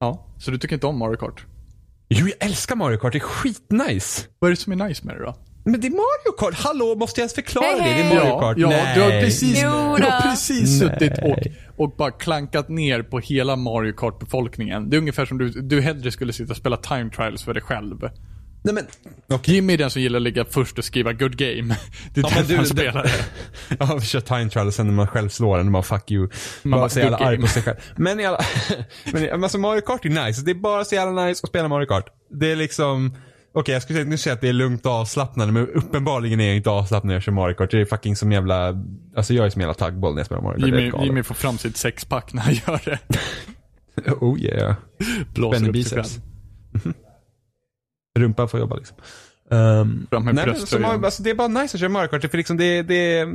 Ja. Så du tycker inte om Mario Kart?
Jo, jag älskar Mario Kart. Det är skitnice.
Vad är det som är nice med det då?
Men det är Mario Kart. Hallå, måste jag ens förklara
Hej,
det? Det
hej.
är Mario Kart.
Ja,
Nej.
du har precis, du
Jo
har
då.
precis suttit och, och bara klankat ner på hela Mario Kart-befolkningen. Det är ungefär som du, du hellre skulle sitta och spela time trials för dig själv.
Nej, men...
Jimmy är den som gillar att ligga först och skriva good game. *laughs* Det är därför
men du-
han
*laughs* det-
spelar det.
Ja, vi kör time trial och sen när man själv slår den, man bara fuck you. Man
bara,
bara så jävla
good
arg på
game.
sig själv. Men, i alla, *laughs* men i- men alltså Mario Kart är nice. Det är bara så jävla nice att spela Mario Kart. Det är liksom, okej jag skulle säga- nu säga att det är lugnt och avslappnande, men uppenbarligen är jag inte avslappnad när jag kör Mario Kart. Det är fucking som jävla, alltså jag är som jävla taggboll när jag spelar Mario Kart.
Jimmy,
det är
Jimmy får fram sitt sexpack när han gör det.
galet. Oh yeah.
Blåser
Spänner
upp sig själv.
biceps. Rumpan får jobba liksom. Ehm,
Fram med
nej, men, så,
brösttröjan.
Mario- alltså, det är bara nice att köra Mario Kart, för liksom det, det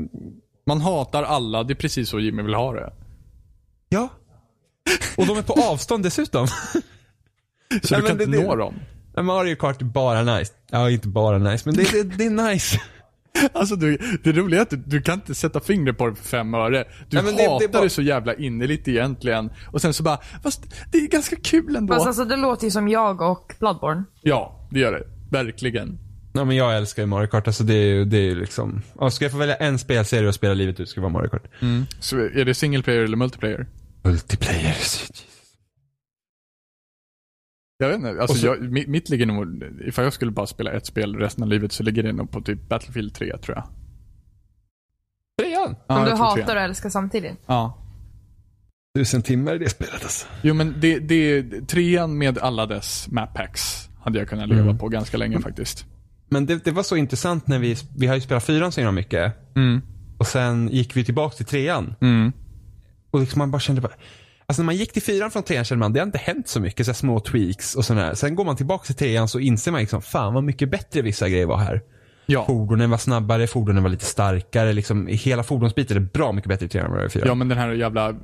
Man hatar alla, det är precis så Jimmy vill ha det.
ja. Och de är på avstånd dessutom.
Så
Nej,
du kan
men det-
inte nå
det-
dem.
Men Mario Kart är bara nice. Ja, inte bara nice, men det, det, det är nice. *laughs*
Alltså du, det roliga är att du, du kan inte sätta fingret på det för fem öre. Du
Nej, men det- det är
hatar det,
bara-
så jävla innerligt egentligen. Och sen så bara, fast det är ganska kul ändå.
Fast alltså det låter ju som jag och Bloodborne.
Ja, det gör det. Verkligen.
Ja, men jag älskar ju Mario Kart. Alltså det är ju det är ju liksom... Ja, ska jag få välja en spelserie att spela livet ut ska det vara Mario Kart.
Så är det single player eller multiplayer?
Multiplayer.
Jag vet inte. Alltså
Och så-
jag, mitt, mitt ligger nog, ifall jag skulle bara spela ett spel resten av livet så ligger det nog på typ Battlefield 3 tror jag.
Trean.
Ja,
Som
jag
du
tror
hatar
trean.
och älskar samtidigt.
Ja.
Tusen timmar i det spelet alltså.
Jo men det,
Mm.
det, trean med alla dess map packs hade jag kunnat leva på ganska länge faktiskt.
Men det, det var så intressant när vi, vi har ju spelat fyran så himla mycket.
Mm.
Och sen gick vi tillbaka till trean.
Mm.
Och liksom man bara kände bara, Alltså när man gick till fyran från trean kände man det har inte hänt så mycket. Så här små tweaks och sådär. Sen går man tillbaka till trean så inser man liksom, fan vad mycket bättre vissa grejer var här.
Ja.
Fordonen var snabbare, fordonen var lite starkare. Liksom, hela fordonsbiten är bra mycket bättre i trean än vad det var i fyran.
ja, men den här jävla...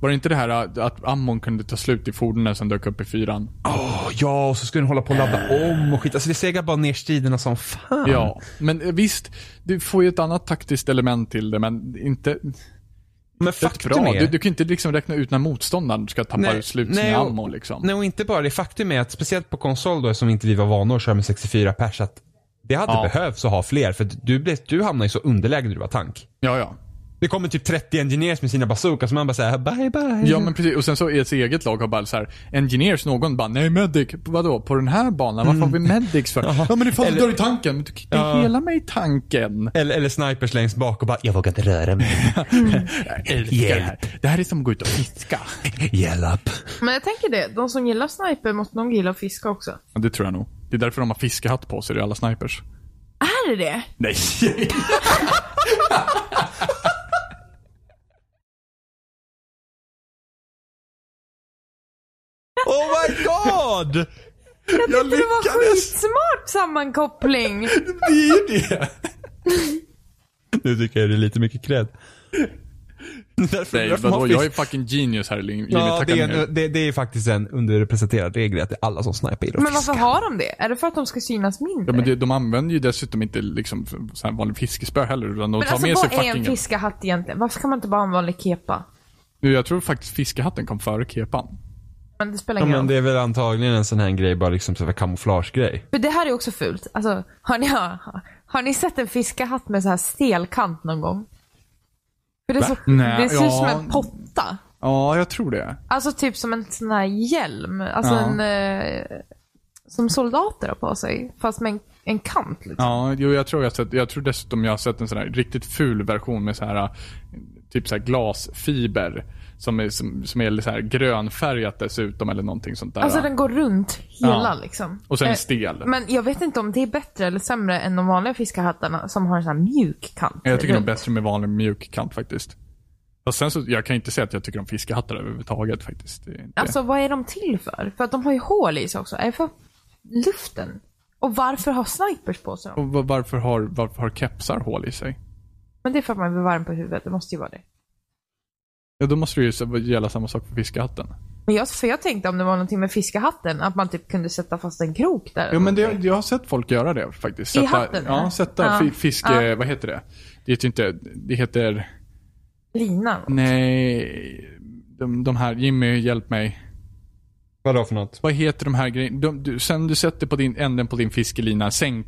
Var det inte det här att- att ammon kunde ta slut i fordonen som dök upp i fyran?
Åh, ja, och så skulle den hålla på och ladda om och skit. Alltså det segar bara ner striderna som fan.
Ja, men eh, visst, du får ju ett annat taktiskt element till det, men inte
men
rätt
faktum
bra.
är...
Du, du kan ju inte liksom räkna ut när motståndaren ska tappa
Nej,
ut slut
nej,
sin
och-
ammo liksom.
Nej, och inte bara det. Faktum är att speciellt på konsol då, som inte vi var vana att köra med 64 pers, att det hade
Ja.
behövts att ha fler. För du, blev, du hamnade i så underläge när du var tank.
Ja, ja.
Det kommer typ 30 engineers med sina bazookas som man bara säger bye bye.
Ja men precis, och sen så ens eget lag har bara så här, engineers, någon bara nej medic, vadå? På den här banan, varför har vi medics för? Ja, men ifall
Eller-
du dör i tanken, men du kan inte hela mig i tanken.
Eller, eller snipers längst bak och bara, jag vågar inte röra mig.
Jag älskar det här. Det här är som att gå ut och fiska.
*laughs* Hjälp.
Men jag tänker det, de som gillar sniper måste nog gilla att fiska också.
Ja, det tror jag nog. Det är därför de har fiskehatt på sig, det är alla snipers.
Är det det?
Nej!
Oh my god!
jag
Det var skitsmart
*laughs*
sammankoppling!
Det är ju det!
Nu tycker jag det är lite mycket cred. Därför,
Nej,
därför man
vadå?
fisk-
Jag är fucking genius här i livet.
Ja,
Ja,
det är, en- det, det är faktiskt en underrepresenterad regel att det är alla som snipar gillar att
Men
fiska.
varför har de det? Är det för att de ska synas mindre?
ja, men det, de använder ju dessutom inte liksom f- så här vanlig fiskespö heller, utan de
Men
tar
alltså
med sig
vad är en
fucking...
fiskahatt egentligen? Varför kan man inte bara ha en vanlig kepa?
Nu, Jag tror faktiskt fiskehatten kom före kepan.
Men det spelar
Ja,
ingen
men
roll.
det är väl antagligen en sån här grej, bara liksom så här kamouflagegrej.
För det här är också fult. Alltså, har ni, *laughs* har, har ni sett en fiskahatt med så här stel kant någon gång? För det, är så,
Nej,
det ser ut som
ja.
en potta.
Ja, jag tror det.
Alltså typ som en sån här hjälm. Alltså
Ja.
en... Eh, som soldater har på sig. Fast med en, en kant liksom.
Ja, jo, jag tror jag har sett, jag tror dessutom jag har sett en sån här riktigt ful version med så här, eh, typ så här glasfiber. Som är, som, som är så här grönfärgat dessutom eller någonting sånt där.
Alltså den går runt hela
Ja.
liksom.
Och sen
Eh,
stel.
Men jag vet inte om det är bättre eller sämre än de vanliga fiskahattarna som har en sån här mjuk kant.
Jag tycker nog
runt.
bättre med vanlig mjuk kant faktiskt. Fast sen så, jag kan inte säga att jag tycker om fiskehattar överhuvudtaget faktiskt. Det är inte...
Alltså vad är de till för? För att de har ju hål i sig också. Är det för luften? Och varför har snipers på sig dem?
Och va- varför har, varför har kepsar hål i sig?
Men det är för att man blir varm på huvudet. Det måste ju vara det.
Ja, då måste det ju så- gälla samma sak för fiskehatten.
Men jag, för jag tänkte om det var någonting med fiskahatten, att man typ kunde sätta fast en krok där.
Ja, men det, jag har sett folk göra det faktiskt.
I
Sätta,
hatten, eller?
Ja, sätta
Ja.
fi- fiske... Vad heter det? Det heter inte... Det heter...
Linan.
Nej, de, de här, Jimmy hjälp mig.
Vadå för något?
Vad heter de här grejerna? De, du, sen du sätter på din, änden på din fiskelina, sänk...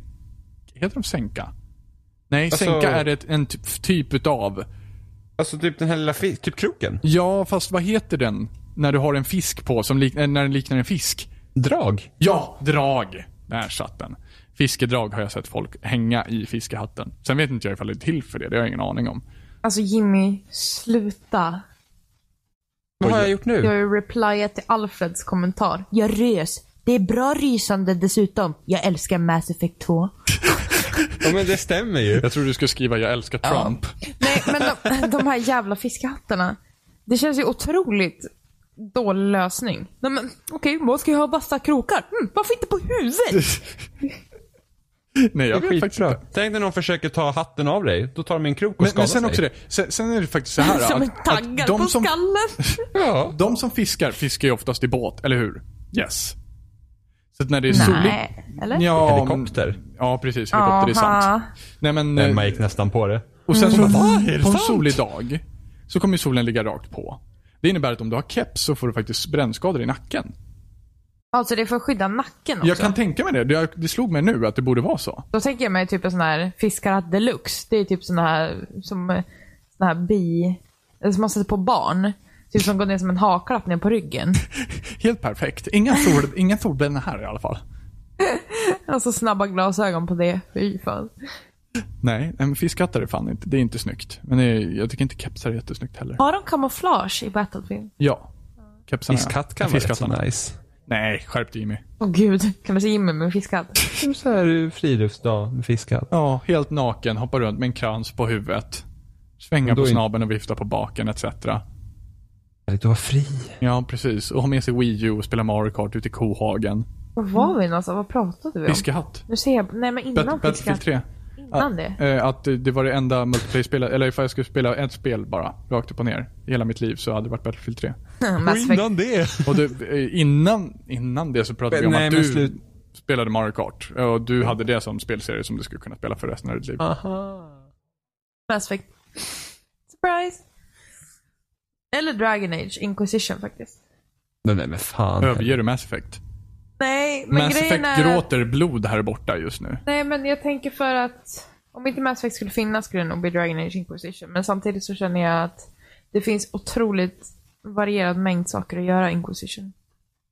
Heter de sänka? Nej,
Alltså-
sänka är ett, en typ, typ utav.
Alltså typ den här lilla fi- typ kroken?
Ja, fast vad heter den? När du har en fisk på, som lik, eh, när den liknar en fisk.
Drag?
Ja, drag! Där satt den. Fiskedrag har jag sett folk hänga i fiskehatten. Sen vet inte jag ifall det är till för det, det har jag ingen aning om.
Alltså Jimmy, sluta.
Vad har jag gjort
Jag har
nu?
ju replyat till Alfreds kommentar. Jag rös. Det är bra rysande dessutom. Jag älskar Mass Effect 2.
Ja men det stämmer ju.
Jag tror du skulle skriva jag älskar Trump.
Nej, men de, *laughs* de här jävla fiskhattarna. Det känns ju otroligt dålig lösning. Nej, men okej, vad ska jag ha vassa krokar? Mm, varför inte på huvudet?
*laughs* Nej, jag
Det är
vet faktiskt
skitbra.
inte.
Tänk när någon försöker ta hatten av dig. Då tar de en krok och
Men,
skadar
men sen
sig.
också det, sen, sen är det faktiskt så här
*laughs* Som en
att,
taggar
att de,
på
som,
skallen.
Ja.
de som fiskar, fiskar ju oftast i båt, eller hur? Yes. Så att när det är soligt...
Nej, eller?
Ja,
Helikopter.
men- Ja, precis. Helikopter, det är sant.
Aha.
Nej men...
Emma
eh,
gick nästan på det.
Och sen så,
Är det
på en
sant?
solig dag, så kommer ju solen ligga rakt på. Det innebär att om du har keps så får du faktiskt brännskador i nacken.
Alltså det är för att skydda nacken också.
Jag kan tänka mig det. det. Det slog mig nu att det borde vara så.
Då tänker jag mig typ en sån här fiskarhatt deluxe. Det är typ sån här som eh, sån här bi... eller Som man sätter på barn. Typ som går ner som en haklapp ner på ryggen. *laughs*
Helt perfekt. Inga, sol, inga solbrännor här i alla fall.
Och så Alltså, snabba glasögon på det. Fy fan.
Nej, en fiskhattar är fan inte, det är inte snyggt. Men det är, jag tycker inte kepsar är jättesnyggt heller.
Har de kamouflage i Battlefield?
Ja. Kepsarna.
Fiskhatt kan vara rätt så
Fiskhattarna.
nice.
Nej, skärp dig Jimmy.
Åh gud, kan man se Jimmy med fiskhatt?
Typ Så här friluftsdag med fiskar.
Ja, helt naken, hoppar runt med en krans på huvudet. Svänga
Då
på
är-
snabeln och vifta på baken etc.
Du var fri.
Ja, precis. Och har med sig Wii U och spelar Mario Kart ute i kohagen.
Var var vi någonstans? Vad pratade vi om?
Fiskehatt.
Nu ser jag, nej men innan
Bet- Battlefield
fiskhatt.
3.
Innan det.
Eh, att det det var det enda multiplayer-spelet, eller ifall jag skulle spela ett spel bara, rakt upp och ner, i hela mitt liv så hade det varit Battlefield 3.
*laughs* Mass Effect.
det.
Och det, eh, innan, innan det så pratade vi om
Nej,
att
men
du
slut-
spelade Mario Kart. Och du hade det som spelserie som du skulle kunna spela för resten av ditt liv.
Ah.
Mass Effect. Surprise! Eller Dragon Age Inquisition faktiskt.
Nej, nej men fan.
Överger du Mass Effect?
Nej, men
Mass
grejen
Effect
är...
gråter blod här borta just nu.
Nej, men jag tänker för att om inte Mass Effect skulle finnas skulle det nog bli Dragon Age Inquisition. Men samtidigt så känner jag att det finns otroligt varierad mängd saker att göra i Inquisition.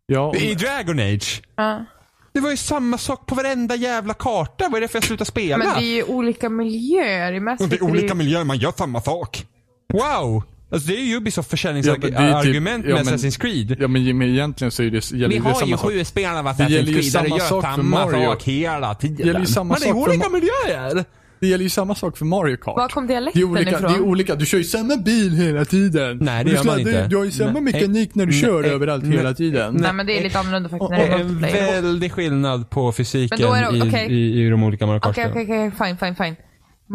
Ja, och,
I Dragon Age?
Ja.
Det var ju samma sak på varenda jävla karta. Vad är det för jag slutar spela?
Men det är ju olika miljöer i Mass Effect.
Det är olika
ju-
miljöer, man gör samma sak. Wow! Alltså det är ju Ubisofts
Ja, men det är ju
försäljningsargument
typ-
med
ja, men-
Assassin's Creed.
ja men Jimmy, egentligen så är det, gäller det samma sak.
spel av
Det gäller ju samma sak för Mario.
hela tiden.
Det gäller ju samma sak för Ma-
miljöer!
Det gäller ju samma sak för Mario Kart.
Var kom
det är,
dialekten
olika,
ifrån?
det är olika, du kör ju samma bil hela tiden.
Nej, det
Du
gör man
sladdar-
inte.
Du har ju samma
Nej.
mekanik när du
Nej.
kör
Nej.
överallt
Nej.
hela tiden.
Nej, men det är lite annorlunda faktiskt när
Det
det är
är en
multiplayer.
väldig skillnad på fysiken
Men då är det-
i,
okej.
i, i de olika Mario
Okej,
Kart-spelen.
okej, okej. Fine, fine, fine.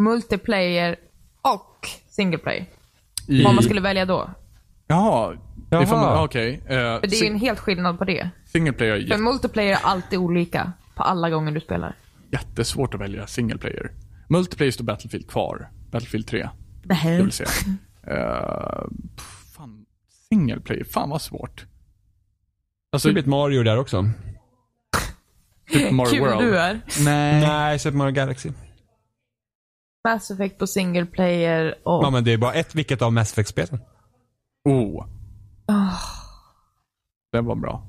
Multiplayer och single player.
I,
Vad man skulle välja då.
Jaha. Jaha.
Jaha.
Okej. Okay.
För det är ju en helt skillnad på det.
single player är
För
jätte,
multiplayer är alltid olika på alla gånger du spelar.
jättesvårt att välja single player. Multiplayer står Battlefield kvar. Battlefield 3. Det
Nej.
vill säga.
Mm.
Eh, pff, fan. Single player. Fan vad svårt.
Så
Alltså,
det blir ett Mario där också.
typ Mario
Kul
World.
du är.
Nej.
Nej, Super Mario Galaxy.
Mass Effect på single player och...
Ja, men det är bara ett vilket av Mass Effect-spelen.
Oh. Den var bra.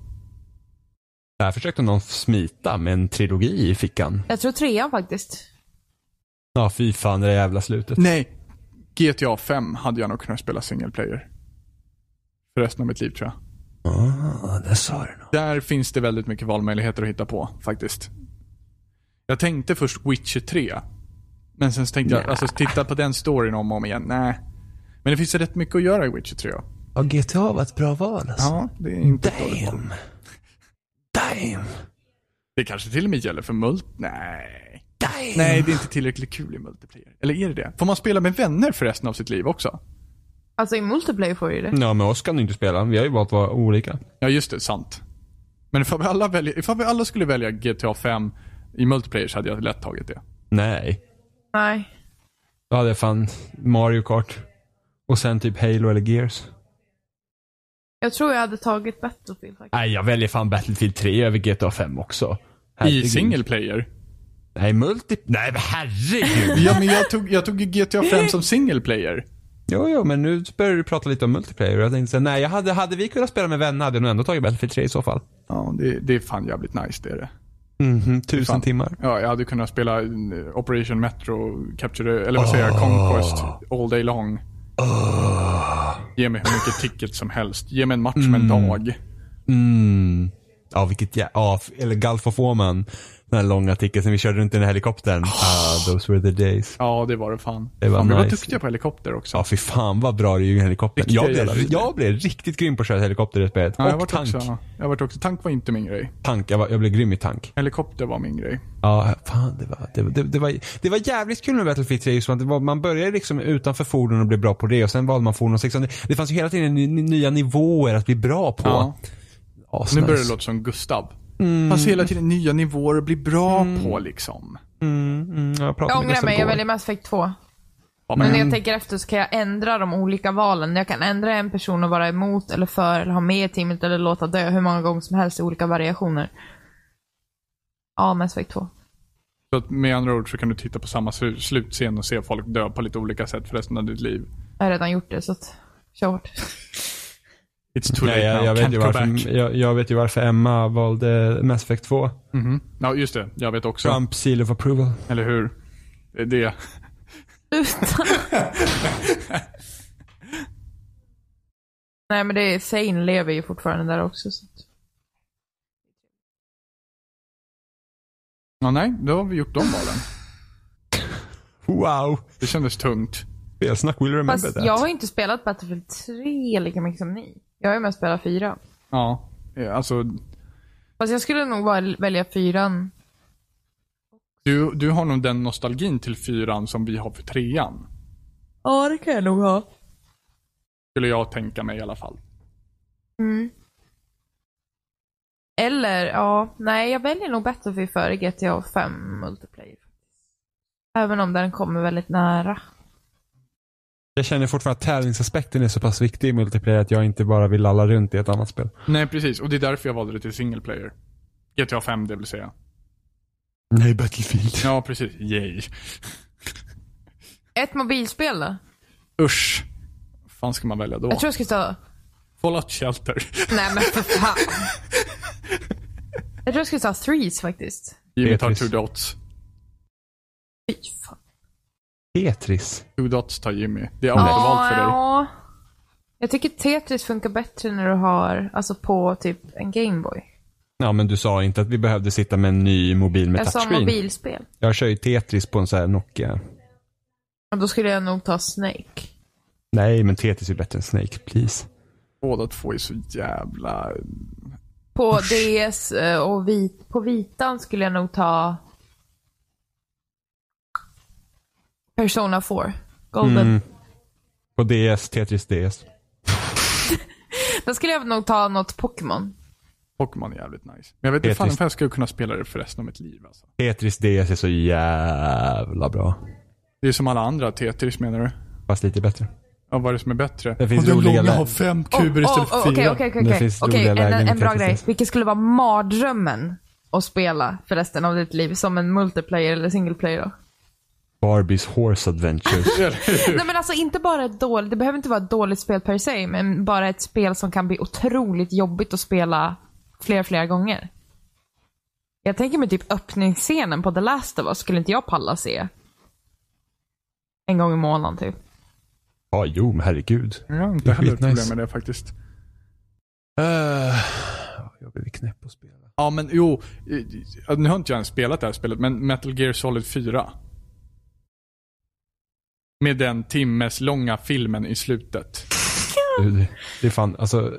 Där försökte någon smita med en trilogi i fickan.
Jag tror trean faktiskt.
Ja, fy fan det där jävla slutet.
Nej. GTA 5 hade jag nog kunnat spela single player. För resten av mitt liv tror jag.
Ah, där sa du något.
Där finns det väldigt mycket valmöjligheter att hitta på faktiskt. Jag tänkte först Witcher 3. Men sen så tänkte jag, alltså titta på den storyn om och om igen. Nej. Men det finns rätt mycket att göra i Witcher 3.
Ja, GTA var ett bra val alltså.
Ja, det är inte ett dåligt val.
Damn. Damn.
Det kanske till och med gäller för mult... Nej.
Damn.
Nej, det är inte tillräckligt kul i multiplayer. Eller är det det? Får man spela med vänner för resten av sitt liv också?
Alltså i multiplayer får du ju det.
Ja, men oss kan du inte spela. Vi har ju valt att vara olika.
Ja, just det. Sant. Men ifall vi alla, väljer, ifall vi alla skulle välja GTA 5 i multiplayer så hade jag lätt tagit det.
Nej.
Nej.
Då hade jag fan Mario Kart. Och sen typ Halo eller Gears.
Jag tror jag hade tagit Battlefield faktiskt.
Nej, jag väljer fan Battlefield 3 över GTA 5 också.
I
Herregud.
single *laughs* player.
Nej, multi... Nej, men herregud.
Ja, men jag tog, jag tog ju GTA 5 som single player.
jo, jo, men nu börjar du prata lite om multiplayer. Och jag tänkte så här, nej, jag hade, hade vi kunnat spela med vänner hade jag nog ändå tagit Battlefield 3 i så fall.
Ja, det, det är fan jävligt nice det är det.
Mhm, tusen timmar.
Ja, jag hade kunnat spela eh, Operation Metro, Capture, eller vad säger jag, Conquest all day long. Ge mig hur mycket tickets som helst. Ge mig en match med en dag.
Mm. Ja, vilket jä... Ja, f- eller Gulf of Oman. Den här långa artikeln som vi körde runt i den här helikoptern. Ah, those were the days.
Ja, det var det fan.
Det var
fan vi var
nice.
duktiga på helikopter också.
Ja, fy fan vad bra du är i helikoptern.
Riktiga
Jag blev,
jävla vidare.
jag blev riktigt grym på att köra helikopter i det spelet.
Ja, jag
och
var
tank.
också, jag var också. Tank var inte min grej.
tank. Jag, var, jag blev grym i tank.
Helikopter var min grej.
Ja, fan det var, det, var- det, det var, det var jävligt kul med Battlefield 3. just som att det var, man började liksom utanför fordon och blev bra på det och sen valde man fordon 16. Det, det fanns ju hela tiden ny, ny- nya nivåer att bli bra på.
Ja.
Asnice.
Nu börjar det låta som Gustav.
Mm.
Fast hela tiden nya nivåer att bli bra på liksom.
Mm, mm, jag pratade
Jag
med
ångrar
Gustav
mig, jag
igår.
väljer Mass Effect 2.
Ja,
Mm.
Men när jag tänker efter så kan jag ändra de olika valen. Jag kan ändra en person och vara emot eller för eller ha med i teamet eller låta dö hur många gånger som helst i olika variationer. Ja, Mass Effect 2.
Så att med andra ord så kan du titta på samma slu- slutscen och se folk dö på lite olika sätt för resten av ditt liv.
Jag har redan gjort det, så att... Kör hårt. *laughs*
It's too late
Nej, jag,
now,
jag, vet
can't
ju
go back.
varför, jag, jag vet ju varför Emma valde Mass Effect 2.
Mhm. Ja, just det. Jag vet också.
Trump seal of approval.
Eller hur? Det är det.
*laughs*
Sluta. Nej, men det är Zane lever ju fortfarande där också. Så. att-
Ja, nej, då har vi gjort de valen.
Wow!
Det kändes tungt.
Spelsnack will remember
Fast
that.
jag har inte spelat Battlefield 3 lika mycket som ni. Jag har ju mest spelat 4.
Ja. Eh, Alltså,
Fast jag skulle nog val- välja 4.
du, du har nog den nostalgin till fyran som vi har för trean.
Ja, det kan jag nog ha.
Skulle jag tänka mig i alla fall.
Mm. Eller, ja, nej jag väljer nog Battlefield före GTA 5 multiplayer. Även om den kommer väldigt nära.
Jag känner fortfarande att tävlingsaspekten är så pass viktig i multiplayer att jag inte bara vill lalla runt i ett annat spel.
Nej, precis. Och det är därför jag valde det till single player. GTA 5, det vill säga.
Nej, Battlefield.
Ja, precis. Yay.
Ett mobilspel då?
Usch. Vad fan ska man välja då?
Jag tror jag ska ta...
Fallout Shelter.
Nej men för fan. jag tror jag ska ta Threes faktiskt.
*laughs* Jimmy tar two
Tetris.
dots.
Fy fan.
Tetris.
Two dots tar Jimmy. Det är autoval för dig.
ja. Jag tycker Tetris funkar bättre när du har, alltså på typ en Gameboy.
Ja, men du sa inte att vi behövde sitta med en ny mobil med
Jag sa
touchscreen.
mobilspel.
Jag kör ju Tetris på en sån här Nokia.
Och då skulle jag nog ta Snake.
Nej, men Tetris är bättre än Snake, please.
Båda två är så jävla...
På DS eh, och vit, på vitan skulle jag nog ta Persona 4. Golden.
Mm. På DS, Tetris DS.
Då skulle jag nog ta något Pokémon.
Pokémon är jävligt nice. Men jag vet inte fan om
Tetris.
jag skulle kunna spela det för resten av mitt liv alltså.
Tetris DS är så jävla bra.
Det är som alla andra Tetris menar du?
Fast lite bättre.
Ja, vad är det som är bättre?
Det
Och
finns
den
roliga
långa
lä-
har fem kuber istället för
okej,
fyra.
okej,
Det
okej,
finns
okej. Okej,
roliga
en,
lägen
en
i
bra
Tetris.
grej. Vilket skulle vara mardrömmen att spela för resten av ditt liv som en multiplayer eller single player då?
Barbies Horse
*laughs*
Adventures.
Nej men alltså inte bara ett dåligt, det behöver inte vara ett dåligt spel per se, men bara ett spel som kan bli otroligt jobbigt att spela flera, flera gånger. Jag tänker mig typ öppningsscenen på The Last of Us skulle inte jag palla se. En gång i månaden typ.
Ja, jo, men herregud.
Jag har
Det
inte
är
heller problem
skitnice.
med det faktiskt.
jag blir knäpp att spela.
Ja men jo, eh, nu har inte jag ens spelat det här spelet, men Metal Gear Solid 4. Med den timmes långa filmen i slutet.
Det- Det är fan, alltså,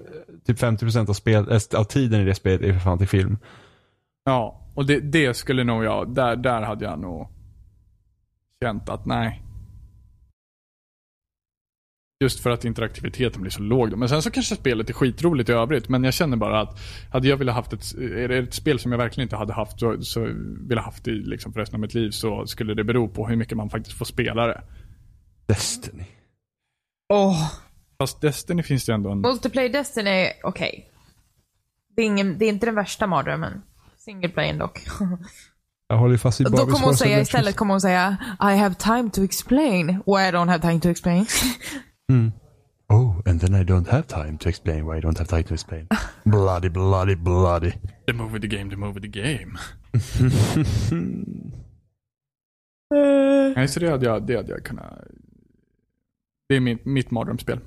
typ 50% av, spel, äh, av tiden i det spelet är för fan till film.
Ja, och det, det skulle nog jag, där, där hade jag nog känt att nej. Just för att interaktiviteten blir så låg då. Men sen så kanske spelet är skitroligt i övrigt. Men jag känner bara att hade jag velat haft ett, är det ett spel som jag verkligen inte hade haft så, så ville haft i liksom för resten av mitt liv så skulle det bero på hur mycket man faktiskt får spela det.
Destiny.
Fast Destiny finns det ändå en...
Multiplayer Destiny är okej. Det, är ingen- det är inte den värsta mardrömmen. Single player dock.
Jag håller ju fast vid
Då
Barbies
kommer hon
Horse
säga
Adventures.
istället, kommer hon säga I have time to explain. Why I don't have time to explain.
Oh, and then I don't have time to explain why I don't have time to
*laughs*
explain. bloody, bloody, bloody.
The movie, the game, the movie, the game. Nej, så det hade jag, det hade jag kunnat... Det är mitt, mitt mardrömsspel.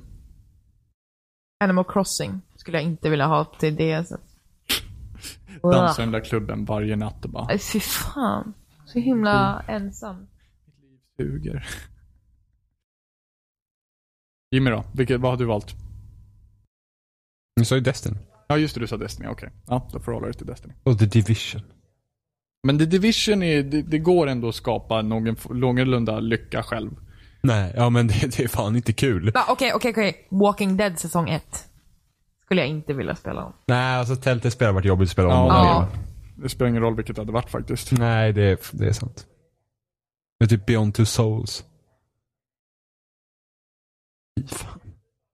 Animal Crossing skulle jag inte vilja ha till det. Så.
Dansa i den där klubben varje natt och bara
Äh, Fy fan. Så himla
Mm.
ensam.
suger. Jimmy då, vilket, vad har du valt?
Du sa ju Destiny.
Ja just det, du sa Destiny, okej. Ja, då får du hålla dig till Destiny.
Och The Division.
Men The Division är, det, det går ändå att skapa någon, f- någorlunda lycka själv.
Nej, ja men det, det är fan inte kul.
Va, Okej, okej, okej. Walking Dead säsong 1. Skulle jag inte vilja spela om.
Nej, alltså tältet spelar varit jobbigt att spela om
Ja.
och om
Ja.
igen.
Det spelar ingen roll vilket det hade varit faktiskt.
Nej, det är, det är sant. Det är typ Beyond Two Souls. Fy fan.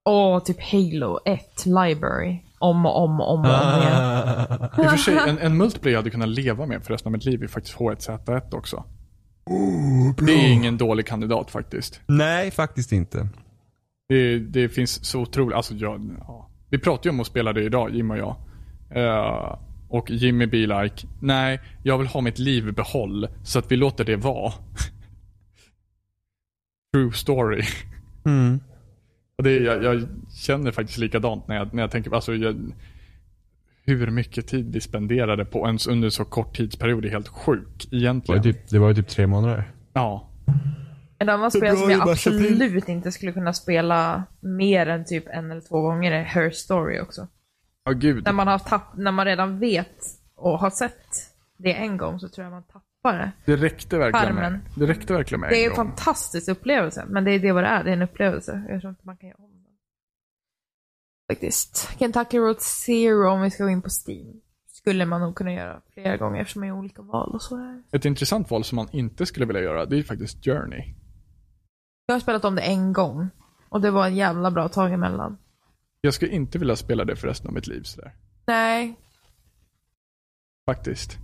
Åh, typ Halo 1 Library. Om och om och om, och
Ah.
om igen.
I och för sig, en, en multiplayer jag hade kunnat leva med för resten av mitt liv är faktiskt H1Z1 också. det är ingen dålig kandidat faktiskt.
Nej, faktiskt inte.
Det, det finns så otroligt, alltså jag, ja. Vi pratade ju om att spela det idag, Jim och jag. Eh, och Jimmy be like, nej, jag vill ha mitt liv i behåll, så att vi låter det vara. *laughs* True story.
Mm.
Och det, jag, jag känner faktiskt likadant när jag, när jag tänker, alltså jag, hur mycket tid vi spenderade på ens under så kort tidsperiod är helt sjuk
Det var ju
egentligen.
typ, det var ju typ tre månader.
Ja.
En annan spel
bra
som jag
jobbat, Chapin.
absolut inte skulle kunna spela mer än typ en eller två gånger är Her Story också.
Ja, gud.
När man, har tapp, när man redan vet och har sett det en gång så tror jag man tappar det.
Det räckte verkligen med,
Farmen.
det räckte verkligen med
Det är
en
en
gång.
fantastisk upplevelse, men det är det vad det är. Det är en upplevelse. Jag tror inte man kan göra om den. Faktiskt. Kentucky Road Zero, om vi ska gå in på Steam, skulle man nog kunna göra flera gånger eftersom man gör olika val och så. Här.
Ett intressant val som man inte skulle vilja göra, det är ju faktiskt Journey.
Jag har spelat om det en gång och det var en jävla bra tag emellan.
Jag skulle inte vilja spela det för resten av mitt liv sådär.
Nej,
Faktiskt.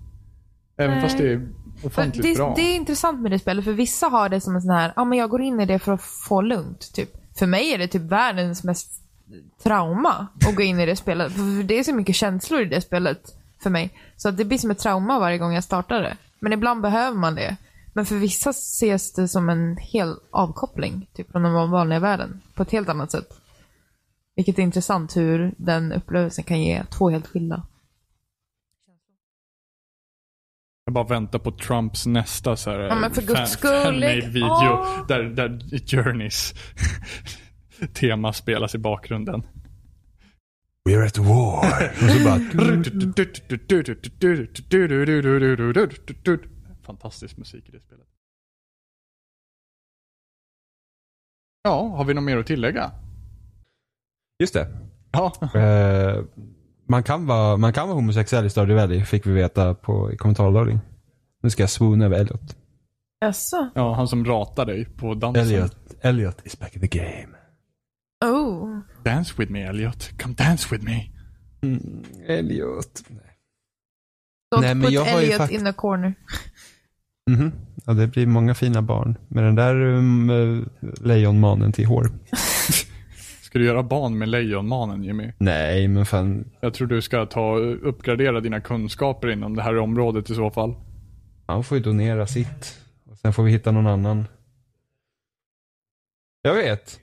Även
Nej.
fast det är
Men
ofantligt
det,
bra.
det är intressant med det spelet, för vissa har det som en sån här, ja men jag går in i det för att få lugnt, typ. För mig är det typ världens mest trauma att gå in i det spelet. För det är så mycket känslor i det spelet för mig. Så att det blir som ett trauma varje gång jag startar det. Men ibland behöver man det. Men för vissa ses det som en hel avkoppling, typ från den vanliga världen. På ett helt annat sätt. Vilket är intressant hur den upplevelsen kan ge två helt skilda.
Jag bara väntar på Trumps nästa så här,
Ja, men för
eh,
guds
fan-
skull, lägg
fan-made video
av.
där, där Journeys *laughs* tema spelas i bakgrunden.
We're at war. *laughs* och så bara...
Fantastisk musik i det spelet. Ja, har vi något mer att tillägga?
Just det.
Ja.
Eh, man, kan vara, man kan vara homosexuell i Stardew Valley, fick vi veta på, i kommentarloggen. Nu ska jag swoona över Elliot.
Jaså?
ja, han som ratade dig på dansen.
Elliot, Elliot is back in the game.
Oh.
Dance with me Elliot, come dance with me.
Elliot.
Don't
Nej, men
put
jag har ju
Elliot
fakt-
in the corner.
Mhm. Ja, det blir många fina barn med den där um, eh, lejonmanen till hår.
Ska du göra barn med Lejonmanen Jimmy?
Nej, men fan.
Jag tror du ska ta uppgradera dina kunskaper inom det här området i så fall.
Han får ju donera sitt. Och sen får vi hitta någon annan. Jag vet.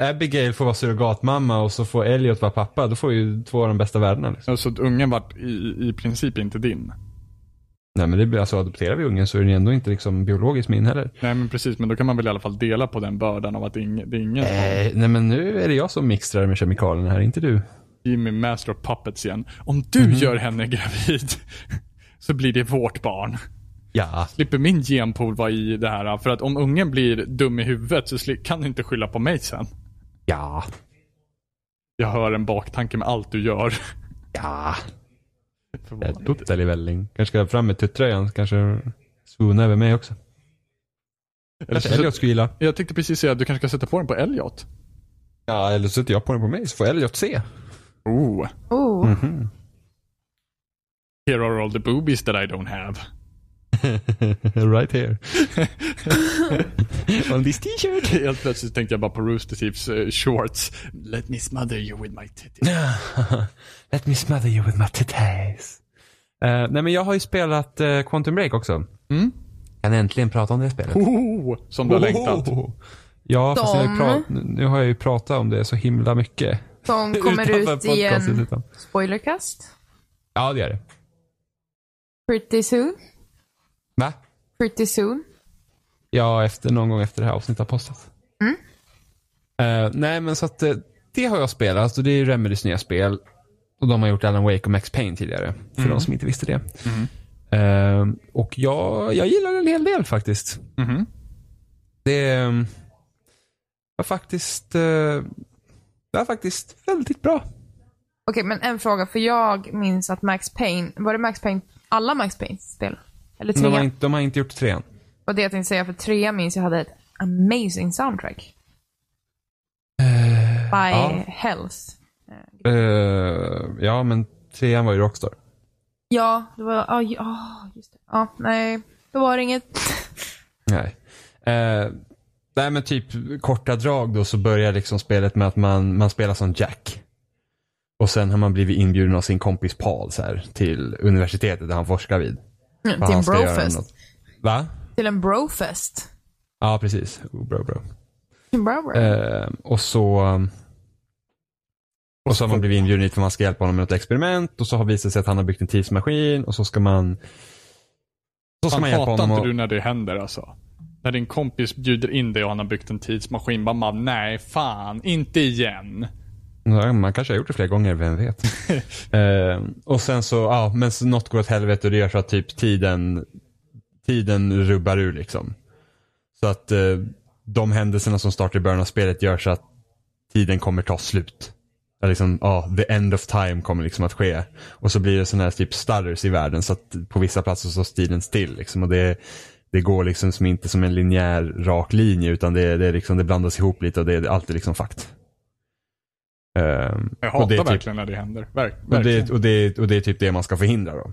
Abigail får vara surrogatmamma och så får Elliot vara pappa. Då får ju två av de bästa världarna. Liksom.
Så att ungen vart i, i princip inte din.
Nej men det blir alltså, adopterar vi ungen så är den ändå inte liksom biologiskt min heller.
Nej men precis, men då kan man väl i alla fall dela på den bördan av att det är ing- det är ingen som
Eh, Nej, nej men nu är det jag som mixtrar med kemikalierna här, inte du.
Jimmy Master of Puppets igen. Om du gör henne gravid *laughs* så blir det vårt barn.
Ja.
Slipper min genpool vara i det här? För att om ungen blir dum i huvudet så sli- kan du inte skylla på mig sen.
Ja.
Jag hör en baktanke med allt du
*laughs*
gör.
Ja.
Förvånande.
Total välling. Kanske ska jag fram med tuttröjan, kanske swoona över mig också.
Eller
Kanske Elliot
så,
skulle gilla.
jag tänkte precis säga att du kanske ska sätta på den på Elliot.
Ja, eller så sätter jag på den på mig så får Elliot se.
Oh.
Oh.
Here are all the boobies that I don't have.
*laughs*
*laughs*
right here. *laughs* On this t-shirt.
Helt plötsligt tänkte jag bara på Rooster Teeths eh, shorts. Let me smother you with my titties.
Let me smother you with my titties. Eh, nej men jag har ju spelat eh, Quantum Break också.
Mm.
Kan äntligen prata om det spelet.
Oh, som du har längtat.
Ja, fast jag har ju
Dom.
prat, nu har jag ju pratat om det så himla mycket. *laughs*
Som kommer
Utanför
ut i
podcastet,
en
utan-
spoilercast.
Ja, det är det.
Pretty soon.
Va?
Pretty soon.
Ja, efter, någon gång efter det här avsnittet har postats. Eh, nej, men så att eh, det har jag spelat och det är ju Remedys nya spel. Och de har gjort Alan Wake och Max Payne tidigare. För de som inte visste det. Eh, och jag, jag gillar en hel del faktiskt.
Mhm.
Det eh, var faktiskt, eh, det var faktiskt väldigt bra.
Okej, men en fråga. För jag minns att Max Payne, var det Max Payne, alla Max Paynes spel? Eller
De har,
trean?
inte, de har inte gjort trean.
Var det jag tänkte säga, för trean minns jag hade ett amazing soundtrack. By
Eh, ja.
Hells.
Eh, ja, men trean var ju Rockstar.
Ja, det var, ja, ja, just det. Ja, nej. Då var det inget. *laughs*
Nej. Eh, nej men typ korta drag då så börjar liksom spelet med att man, man spelar som Jack. Och sen har man blivit inbjuden av sin kompis Paul så här, till universitetet där han forskar vid. Vad
Mm, Till en
han ska göra med
brofest.
något. Va?
Till en brofest.
Ja precis. Oh, bro, bro.
Till en bro, bro.
Eh, och så Och så har man blivit inbjuden hit för att man ska hjälpa honom med något experiment och så har det visat sig att han har byggt en tidsmaskin och så ska man... Så ska
Fan,
man hjälpa
hatar
honom
inte
och...
du när det händer alltså? När din kompis bjuder in dig och han har byggt en tidsmaskin. Bara man, nej fan, inte igen.
Ja, man kanske har gjort det flera gånger, vem vet. eh, och sen så, ja, men så något går åt helvete och det gör så att typ tiden, tiden rubbar ur liksom. Så att eh, de händelserna som startar i början av spelet gör så att tiden kommer ta slut. Där liksom, ja, the end of time kommer liksom att ske. Och så blir det sådana här typ starters i världen så att på vissa platser så står tiden still liksom. Och det, det går liksom som inte som en linjär rak linje utan det, det, är liksom, det blandas ihop lite och det är alltid liksom fakt. Ehm,
Jag
och
hatar
det är typ-
verkligen när det händer. Verk,
och det,
verkligen.
och, det, och det är typ det man ska förhindra då.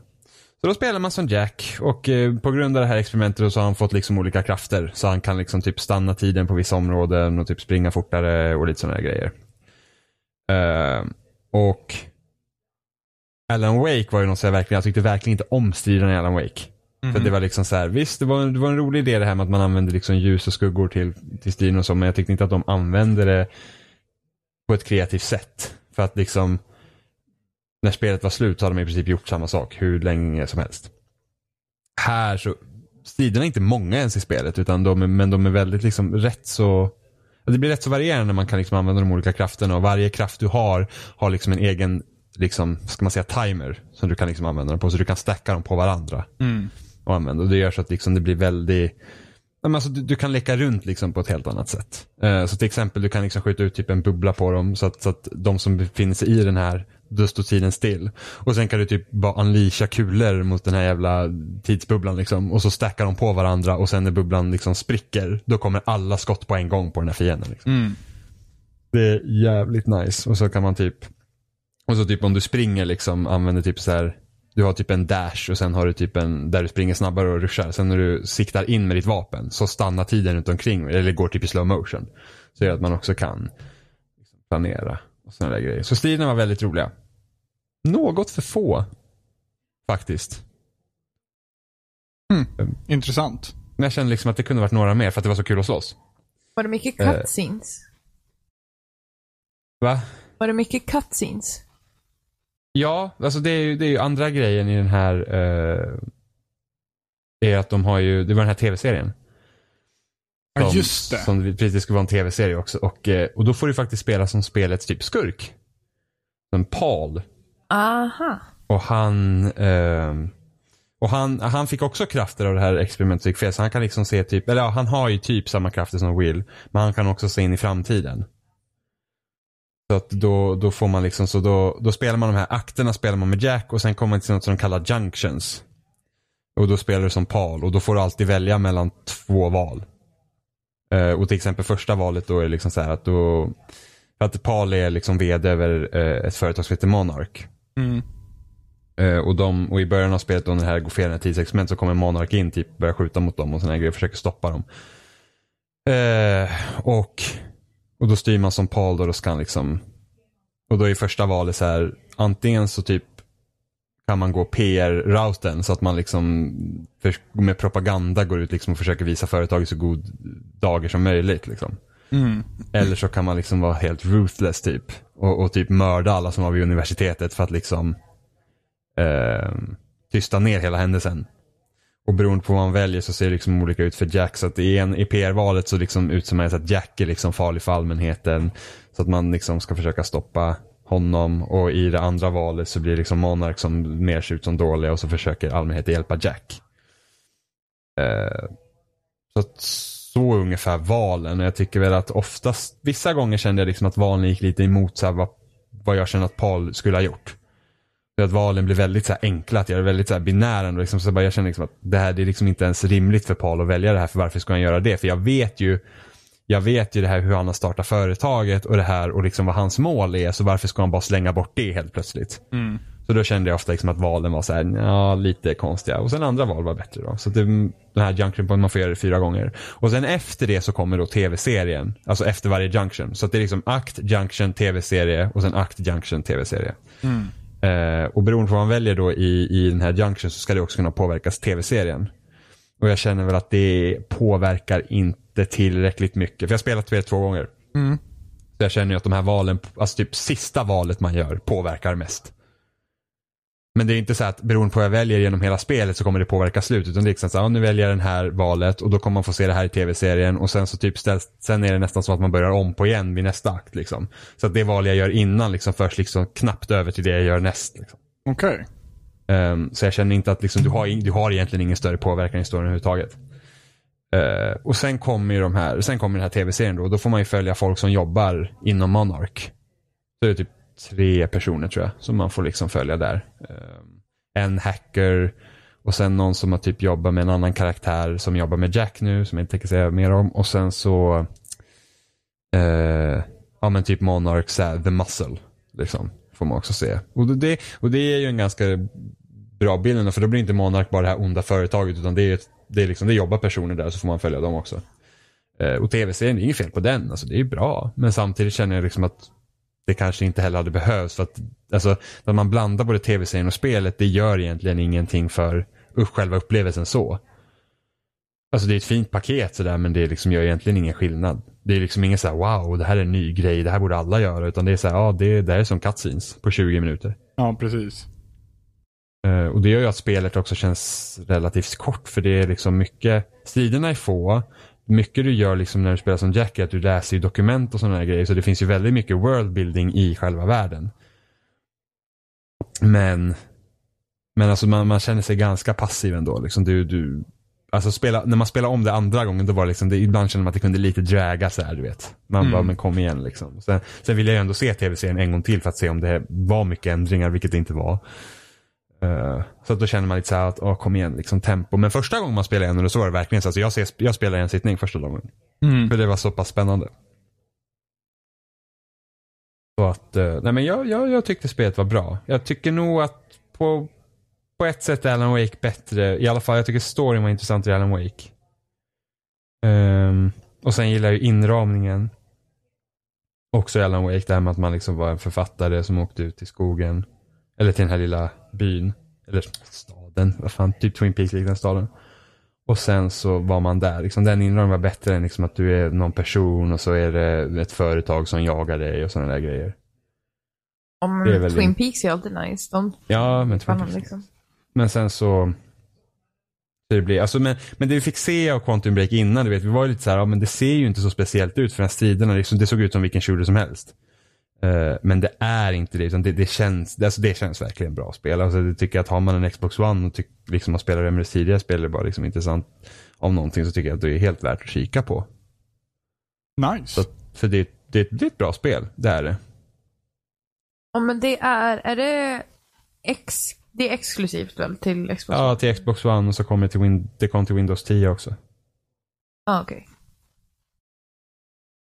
Så då spelar man som Jack och eh, på grund av det här experimentet så har han fått liksom olika krafter. Så han kan liksom typ stanna tiden på vissa områden och typ springa fortare och lite sådana här grejer. Eh, och Alan Wake var ju något som jag verkligen, jag tyckte verkligen inte om striden i Alan Wake. För det var liksom så här, visst det var, det var en rolig idé det här med att man använde liksom ljus och skuggor till, till striden och så, men jag tyckte inte att de använde det på ett kreativt sätt. För att liksom, när spelet var slut så hade de i princip gjort samma sak hur länge som helst. Här så, striderna är inte många ens i spelet, utan de, är- men de är väldigt liksom rätt så det blir rätt så varierande när man kan liksom använda de olika krafterna och varje kraft du har har liksom en egen, liksom, ska man säga timer som du kan liksom använda dem på. Så du kan stacka dem på varandra och använda. Och det gör så att liksom det blir väldigt Nej, men alltså, du, du kan leka runt liksom på ett helt annat sätt. Eh, så till exempel du kan liksom skjuta ut typ en bubbla på dem så att, så att de som befinner sig i den här, då står tiden still. Och sen kan du typ bara unleasha kulor mot den här jävla tidsbubblan liksom. Och så stackar de på varandra och sen när bubblan liksom spricker, då kommer alla skott på en gång på den här fienden. Liksom. Det är jävligt nice. Och så kan man typ, och så typ om du springer liksom, använder typ så här du har typ en dash och sen har du typ en där du springer snabbare och ruschar. Sen när du siktar in med ditt vapen så stannar tiden runt omkring eller går typ i slow motion. Så gör att man också kan liksom planera och sådana där grejer. Så striderna var väldigt roliga. Något för få faktiskt.
Intressant.
Men jag kände liksom att det kunde varit några mer för att det var så kul att slåss.
Var det mycket
Eh.
cutscenes?
Va?
Var det mycket cutscenes?
Ja, alltså det är ju, det är ju andra grejen i den här eh, är att de har ju, det var den här tv-serien.
Ja,
Som-
just det.
Som precis det skulle vara en tv-serie också. Och, eh, och då får du faktiskt spela som spelets typ skurk. Som Paul.
Aha.
Och han, ehm, och han, han fick också krafter av det här experimentet som gick fel. Så han kan liksom se typ, eller ja, han har ju typ samma krafter som Will. Men han kan också se in i framtiden. Så att då, då får man liksom, så då, då spelar man de här akterna spelar man med Jack och sen kommer man till något som de kallar junctions. Och då spelar du som Paul och då får du alltid välja mellan två val. Eh, och till exempel första valet då är det liksom så här att då, för att Paul är liksom vd över eh, ett företag som heter Monarch.
Mm.
Eh, och, de, och i början av spelet då när det här går fel, när tidsexperiment, så kommer Monark in, typ börjar skjuta mot dem och såna här grejer, försöker stoppa dem. Eh, och, och då styr man som Paul då, då ska han liksom, och då är första valet så här, antingen så typ kan man gå PR-routen så att man liksom för, med propaganda går ut liksom och försöker visa företaget så god dagar som möjligt. Liksom. Eller så kan man liksom vara helt ruthless typ. Och, och typ mörda alla som var vid universitetet för att liksom eh, tysta ner hela händelsen. Och beroende på vad man väljer så ser det liksom olika ut för Jack. Så att i, en, i PR-valet så liksom utser man så att Jack är liksom farlig för allmänheten. Så att man liksom ska försöka stoppa honom. Och i det andra valet så blir det liksom Monark som mer ser ut som dåliga och så försöker allmänheten hjälpa Jack. Eh, så att så är ungefär valen. Och jag tycker väl att oftast, vissa gånger kände jag liksom att valen gick lite emot så här vad, vad jag kände att Paul skulle ha gjort. Så att valen blir väldigt så här enkla att göra, väldigt så här binära. ändå, Liksom. Så bara jag känner liksom att det här det är liksom inte ens rimligt för Paul att välja det här, för varför ska han göra det? För jag vet ju jag vet ju det här hur han har startat företaget och det här och liksom vad hans mål är, så varför ska han bara slänga bort det helt plötsligt? Så då kände jag ofta liksom att valen var så här, ja lite konstiga. Och sen andra val var bättre då. Så att det, den här junction point, man får göra det fyra gånger. Och sen efter det så kommer då tv-serien. Alltså efter varje junction. Så att det är liksom akt, junction, tv-serie och sen akt, junction, tv-serie. Eh, och beroende på vad man väljer då i, i den här junction så ska det också kunna påverkas tv-serien. Och jag känner väl att det påverkar inte tillräckligt mycket. För jag har spelat spelet två gånger. Så jag känner ju att de här valen, alltså typ sista valet man gör påverkar mest. Men det är inte så att beroende på vad jag väljer genom hela spelet så kommer det påverka slutet. Utan det är liksom så här, ja, nu väljer jag den här valet och då kommer man få se det här i tv-serien och sen så typ ställs, sen är det nästan så att man börjar om på igen vid nästa akt liksom. Så att det val jag gör innan liksom förs liksom knappt över till det jag gör näst. Liksom.
Okej.
Ehm, så jag känner inte att liksom, du, har, in- du har egentligen ingen större påverkan i historien överhuvudtaget. Ehm, och sen kommer ju de här, sen kommer den här tv-serien då. Då får man ju följa folk som jobbar inom Monarch. Så det är typ tre personer tror jag som man får liksom följa där. Ehm, en hacker och sen någon som har typ jobbat med en annan karaktär som jobbar med Jack nu som jag inte tänker säga mer om. Och sen så, eh, ja men typ Monarch, så här, The Muscle. Liksom, får man också se. Och det, och det är ju en ganska bra bild ändå, för då blir inte Monark bara det här onda företaget utan det, är ett, det, är liksom, det jobbar personer där så får man följa dem också. Eh, och tv-serien, det är inget fel på den, alltså, det är ju bra. Men samtidigt känner jag liksom att det kanske inte heller hade behövts. För att, alltså, när man blandar både tv-serien och spelet, det gör egentligen ingenting för upp, själva upplevelsen så. Alltså det är ett fint paket sådär, men det liksom gör egentligen ingen skillnad. Det är liksom ingen såhär, wow, det här är en ny grej, det här borde alla göra. Utan det är såhär, ja, det, det här är som cutscenes på 20 minuter.
Ja, precis.
Eh, Och det gör ju att spelet också känns relativt kort för det är liksom mycket, striderna är få. Mycket du gör liksom när du spelar som Jack är att du läser ju dokument och sådana här grejer. Så det finns ju väldigt mycket worldbuilding i själva världen. Men, men alltså man, man känner sig ganska passiv ändå. Liksom du, du, alltså spela, när man spelar om det andra gången då var det liksom, det, ibland kände man att det kunde lite draga så här, du vet. Man bara, men kom igen liksom. Sen, sen ville jag ju ändå se tv-serien en gång till för att se om det var mycket ändringar, vilket det inte var. Eh, Så att då känner man lite så här att, åh, kom igen, liksom tempo. Men första gången man spelar igen, och så var det verkligen så. Alltså jag, ser, jag spelar i en sittning första gången.
Mm.
För det var så pass spännande. Så att, eh, nej men jag, jag, jag tyckte spelet var bra. Jag tycker nog att på, på ett sätt är Alan Wake bättre. I alla fall, jag tycker storyn var intressant i Alan Wake. Ehm, och sen gillar jag ju inramningen. Också i Alan Wake, det här med att man liksom var en författare som åkte ut i skogen. Eller till den här lilla byn. Eller staden, vad fan, typ Twin Peaks liknande staden. Och sen så var man där. Liksom, den inramningen var bättre än liksom att du är någon person och så är det ett företag som jagar dig och sådana där grejer.
Ja,
Det är
men
väl
Twin
in-
Peaks är alltid nice. De
Ja, men Twin
fan,
Peaks.
liksom.
Men sen så det blir, alltså men, men det vi fick se av Quantum Break innan, du vet, vi var ju lite så här, ja, men det ser ju inte så speciellt ut för den här striderna, liksom, det såg ut som vilken shooter som helst. Eh, men det är inte det, utan det, det, känns, alltså, det känns verkligen bra att spela. Alltså, det tycker jag att har man en Xbox One och tyck, liksom, har spelat Remedies tidigare spel, det är bara liksom, intressant om någonting så tycker jag att det är helt värt att kika på. Så,
Nice.
att- för det, det, det är ett bra spel, det är det.
Ja, men det är, är det, ex, det är exklusivt väl till Xbox?
Ja, till Xbox One och så kommer det till, Win, det kom till Windows 10 också.
Ah, okej.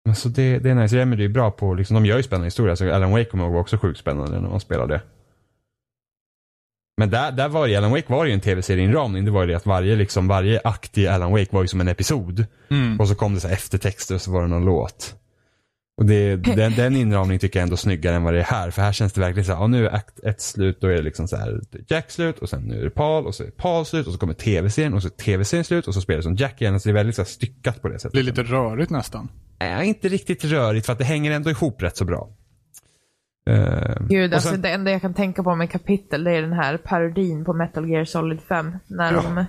Men så det, det är nice. Remedy är bra på, liksom, de gör ju spännande historier. Så Alan Wake kommer jag ihåg var också sjukt spännande när man spelade. Men där, där var det, Alan Wake var ju en tv-serieinramning. Det var ju det att varje, liksom, varje akt i Alan Wake var ju som en episod.
Mm.
Och så kom det så här eftertexter och så var det någon låt. Och det, den, den inramningen tycker jag ändå är snyggare än vad det är här. För här känns det verkligen så här, ja, nu är akt ett slut, då är det liksom så här Jack slut och sen nu är det Paul och så är Paul slut och så kommer tv-serien och så är tv-serien slut och så spelar det som Jack igen. Så det är väldigt så här styckat på det sättet.
Det är lite rörigt nästan.
Nej, inte riktigt rörigt för att det hänger ändå ihop rätt så bra. Eh,
Gud,
och
alltså
sen-
det enda jag kan tänka på om ett kapitel det är den här parodin på Metal Gear Solid 5. När, de, *laughs*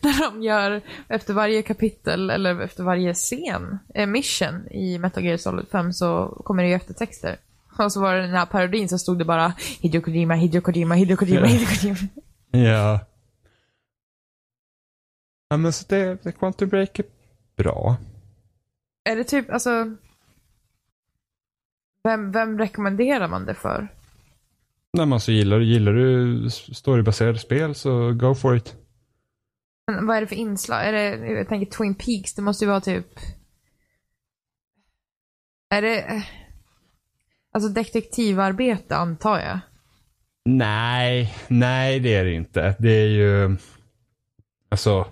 när de gör, efter varje kapitel eller efter varje scen, eh, mission i Metal Gear Solid 5 så kommer det ju eftertexter. Och så var det den här parodin så stod det bara Hideo Kojima, Hideo Kojima, Hideo Kojima, Hideo Kojima.
Ja. Ja men så det, det Quantum Break är bra.
Är det typ, alltså... Vem, vem rekommenderar man det för?
När man så gillar, gillar du storybaserade spel så go for it.
Men vad är det för inslag? Är det, jag tänker Twin Peaks, det måste ju vara typ... Är det... Alltså detektivarbete antar *laughs* jag.
Nej, nej det är det inte. Det är ju, alltså.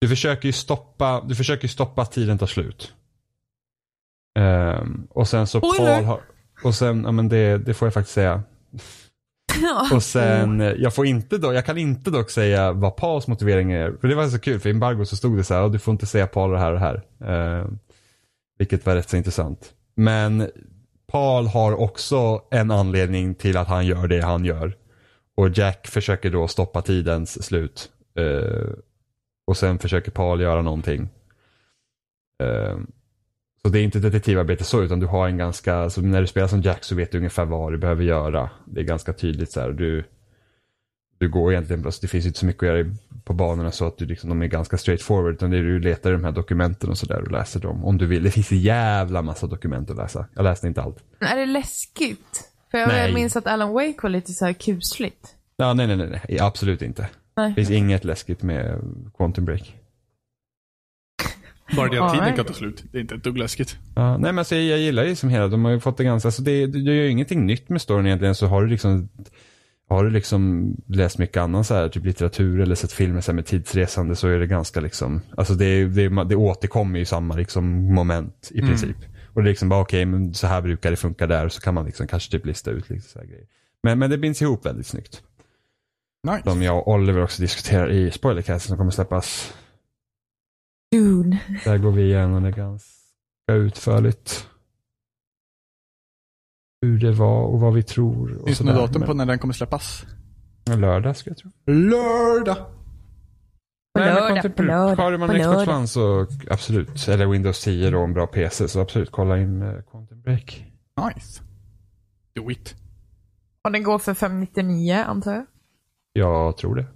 Du försöker ju stoppa, du försöker ju stoppa att tiden tar slut. Ehm, och sen så
Spoiler!
Paul har, och sen, ja men det, det får jag faktiskt säga. Och sen, eh, jag får inte då, jag kan inte dock säga vad Pauls motivering är. För det var så kul, för i embargot så stod det så här, "Ja, du får inte säga Paul det här och det här. Ehm, Vilket var rätt så intressant. Men Paul har också en anledning till att han gör det han gör. Och Jack försöker då stoppa tidens slut. Eh, och sen försöker Paul göra någonting. Eh, så det är inte detektivarbete så, utan du har en ganska, så när du spelar som Jack så vet du ungefär vad du behöver göra. Det är ganska tydligt så här. Du, du går egentligen, alltså det finns inte så mycket att göra i- på banorna så att du liksom, de är ganska straightforward. Utan det är du letar i de här dokumenten och sådär och läser dem. Om du vill. Det finns en jävla massa dokument att läsa. Jag läste inte allt.
Men Är det läskigt? För jag
Nej.
minns att Alan Wake var lite så här kusligt.
Ja, nej, nej, nej, nej. Absolut inte.
Nej.
Det finns inget läskigt med Quantum Break.
Bara det att
Ja,
tiden
nej.
kan ta slut. Det är inte ett dugg läskigt.
Ja, nej men alltså, jag, jag gillar ju som hela, de har ju fått det ganska, alltså det, du gör ju ingenting nytt med storyn egentligen så har du liksom har du liksom läst mycket annan så här, typ litteratur eller sett filmer så här med tidsresande så är det ganska liksom, alltså det, är- det, är- det återkommer ju samma liksom moment i princip. Och det är liksom bara okej, men så här brukar det funka där och så kan man liksom kanske typ lista ut lite så här grejer. Men, men det binds ihop väldigt snyggt.
Nice.
Som jag och Oliver också diskuterar i spoilercasten som kommer släppas.
Dune.
Där går vi igenom det ganska utförligt. Hur det var och vad vi tror. Och
Finns det något
sådär.
datum på när den kommer släppas?
Men Lördag skulle jag tro.
Lördag!
På
Nej, men kom
lördag,
till-
på lördag,
Har man
på
en Xbox
lördag.
One så absolut. Eller Windows 10 då och en bra PC så absolut kolla in eh, Quantum Break.
Nice. Do it.
Och den går för 599 antar jag.
Jag tror det.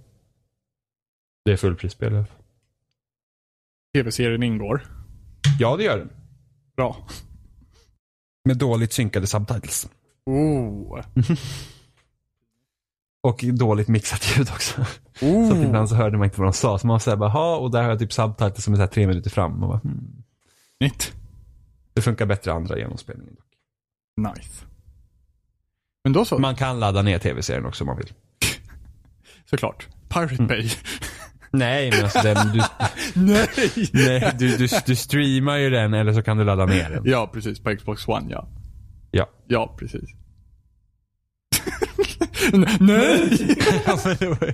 Det är fullprisspel i alla fall.
Tv-serien ingår.
Ja det gör det.
Bra.
Med dåligt synkade subtitles.
Oh.
Och dåligt mixat ljud också. *laughs* Så
Mm.
att
Oh.
ibland så hörde man inte vad de sa. Så man var såhär bara, "Ha", och där har jag typ subtitles som är så här tre minuter fram. Och bara, hmm.
Nytt.
Det funkar bättre andra genomspelningen. dock.
Nice. Men då så.
Man kan ladda ner tv-serien också om man vill.
Såklart. Pirate
Mm.
Bay. *laughs*
Nej, men alltså den, du,
Nej!
*laughs* nej, du, du, du streamar ju den eller så kan du ladda ner den.
Ja, precis. På Xbox One, ja.
Ja.
Ja, precis. *laughs* N- Nej!
ja, men, det var-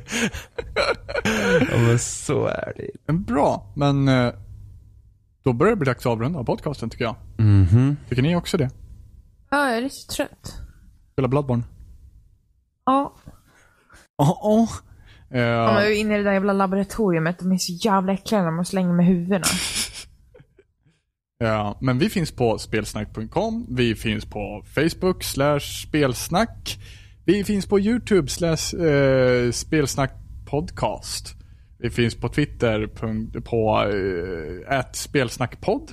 ja, men så är det.
Bra, men eh, då börjar det bli dags att avrunda podcasten tycker jag.
Mhm.
Tycker ni också det?
Ja, jag är lite trött.
Spela Bloodborne?
Ja.
Ja. Oh, oh.
ja. Men jag är inne i det där jävla laboratoriet. De är så jävla äckliga när man slänger med huvudena.
Ja, men vi finns på spelsnack.com, vi finns på Facebook slash spelsnack, vi finns på YouTube slash eh, spelsnackpodcast. Vi finns på Twitter punkt- på eh, at spelsnackpodd.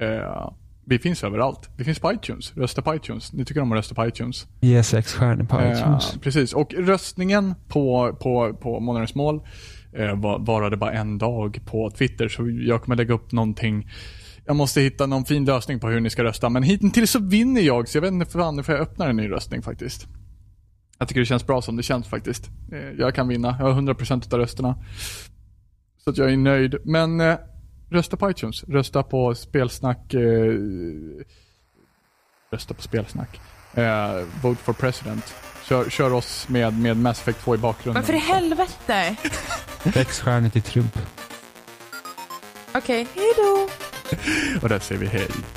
Eh, vi finns överallt. Vi finns på iTunes. Rösta på iTunes. Ni tycker om att rösta på iTunes.
Ge sex stjärnor på
Eh, precis, och röstningen på, på, på månadens mål eh, var- varade bara en dag på Twitter, så jag kommer lägga upp någonting. Jag måste hitta någon fin lösning på hur ni ska rösta, men hittills så vinner jag, så jag vet inte fan för jag öppnar en ny röstning faktiskt. Jag tycker det känns bra som det känns faktiskt. Eh, jag kan vinna, jag har 100% av rösterna. Så att jag är nöjd, men eh, rösta på iTunes, rösta på spelsnack, eh, rösta på spelsnack. Eh, vote for president. Kör, kör oss med, med Mass Effect 2 i bakgrunden.
Men för i helvete!
Sex stjärnor till Trump.
Okej, hejdå!
Och där säger vi hej.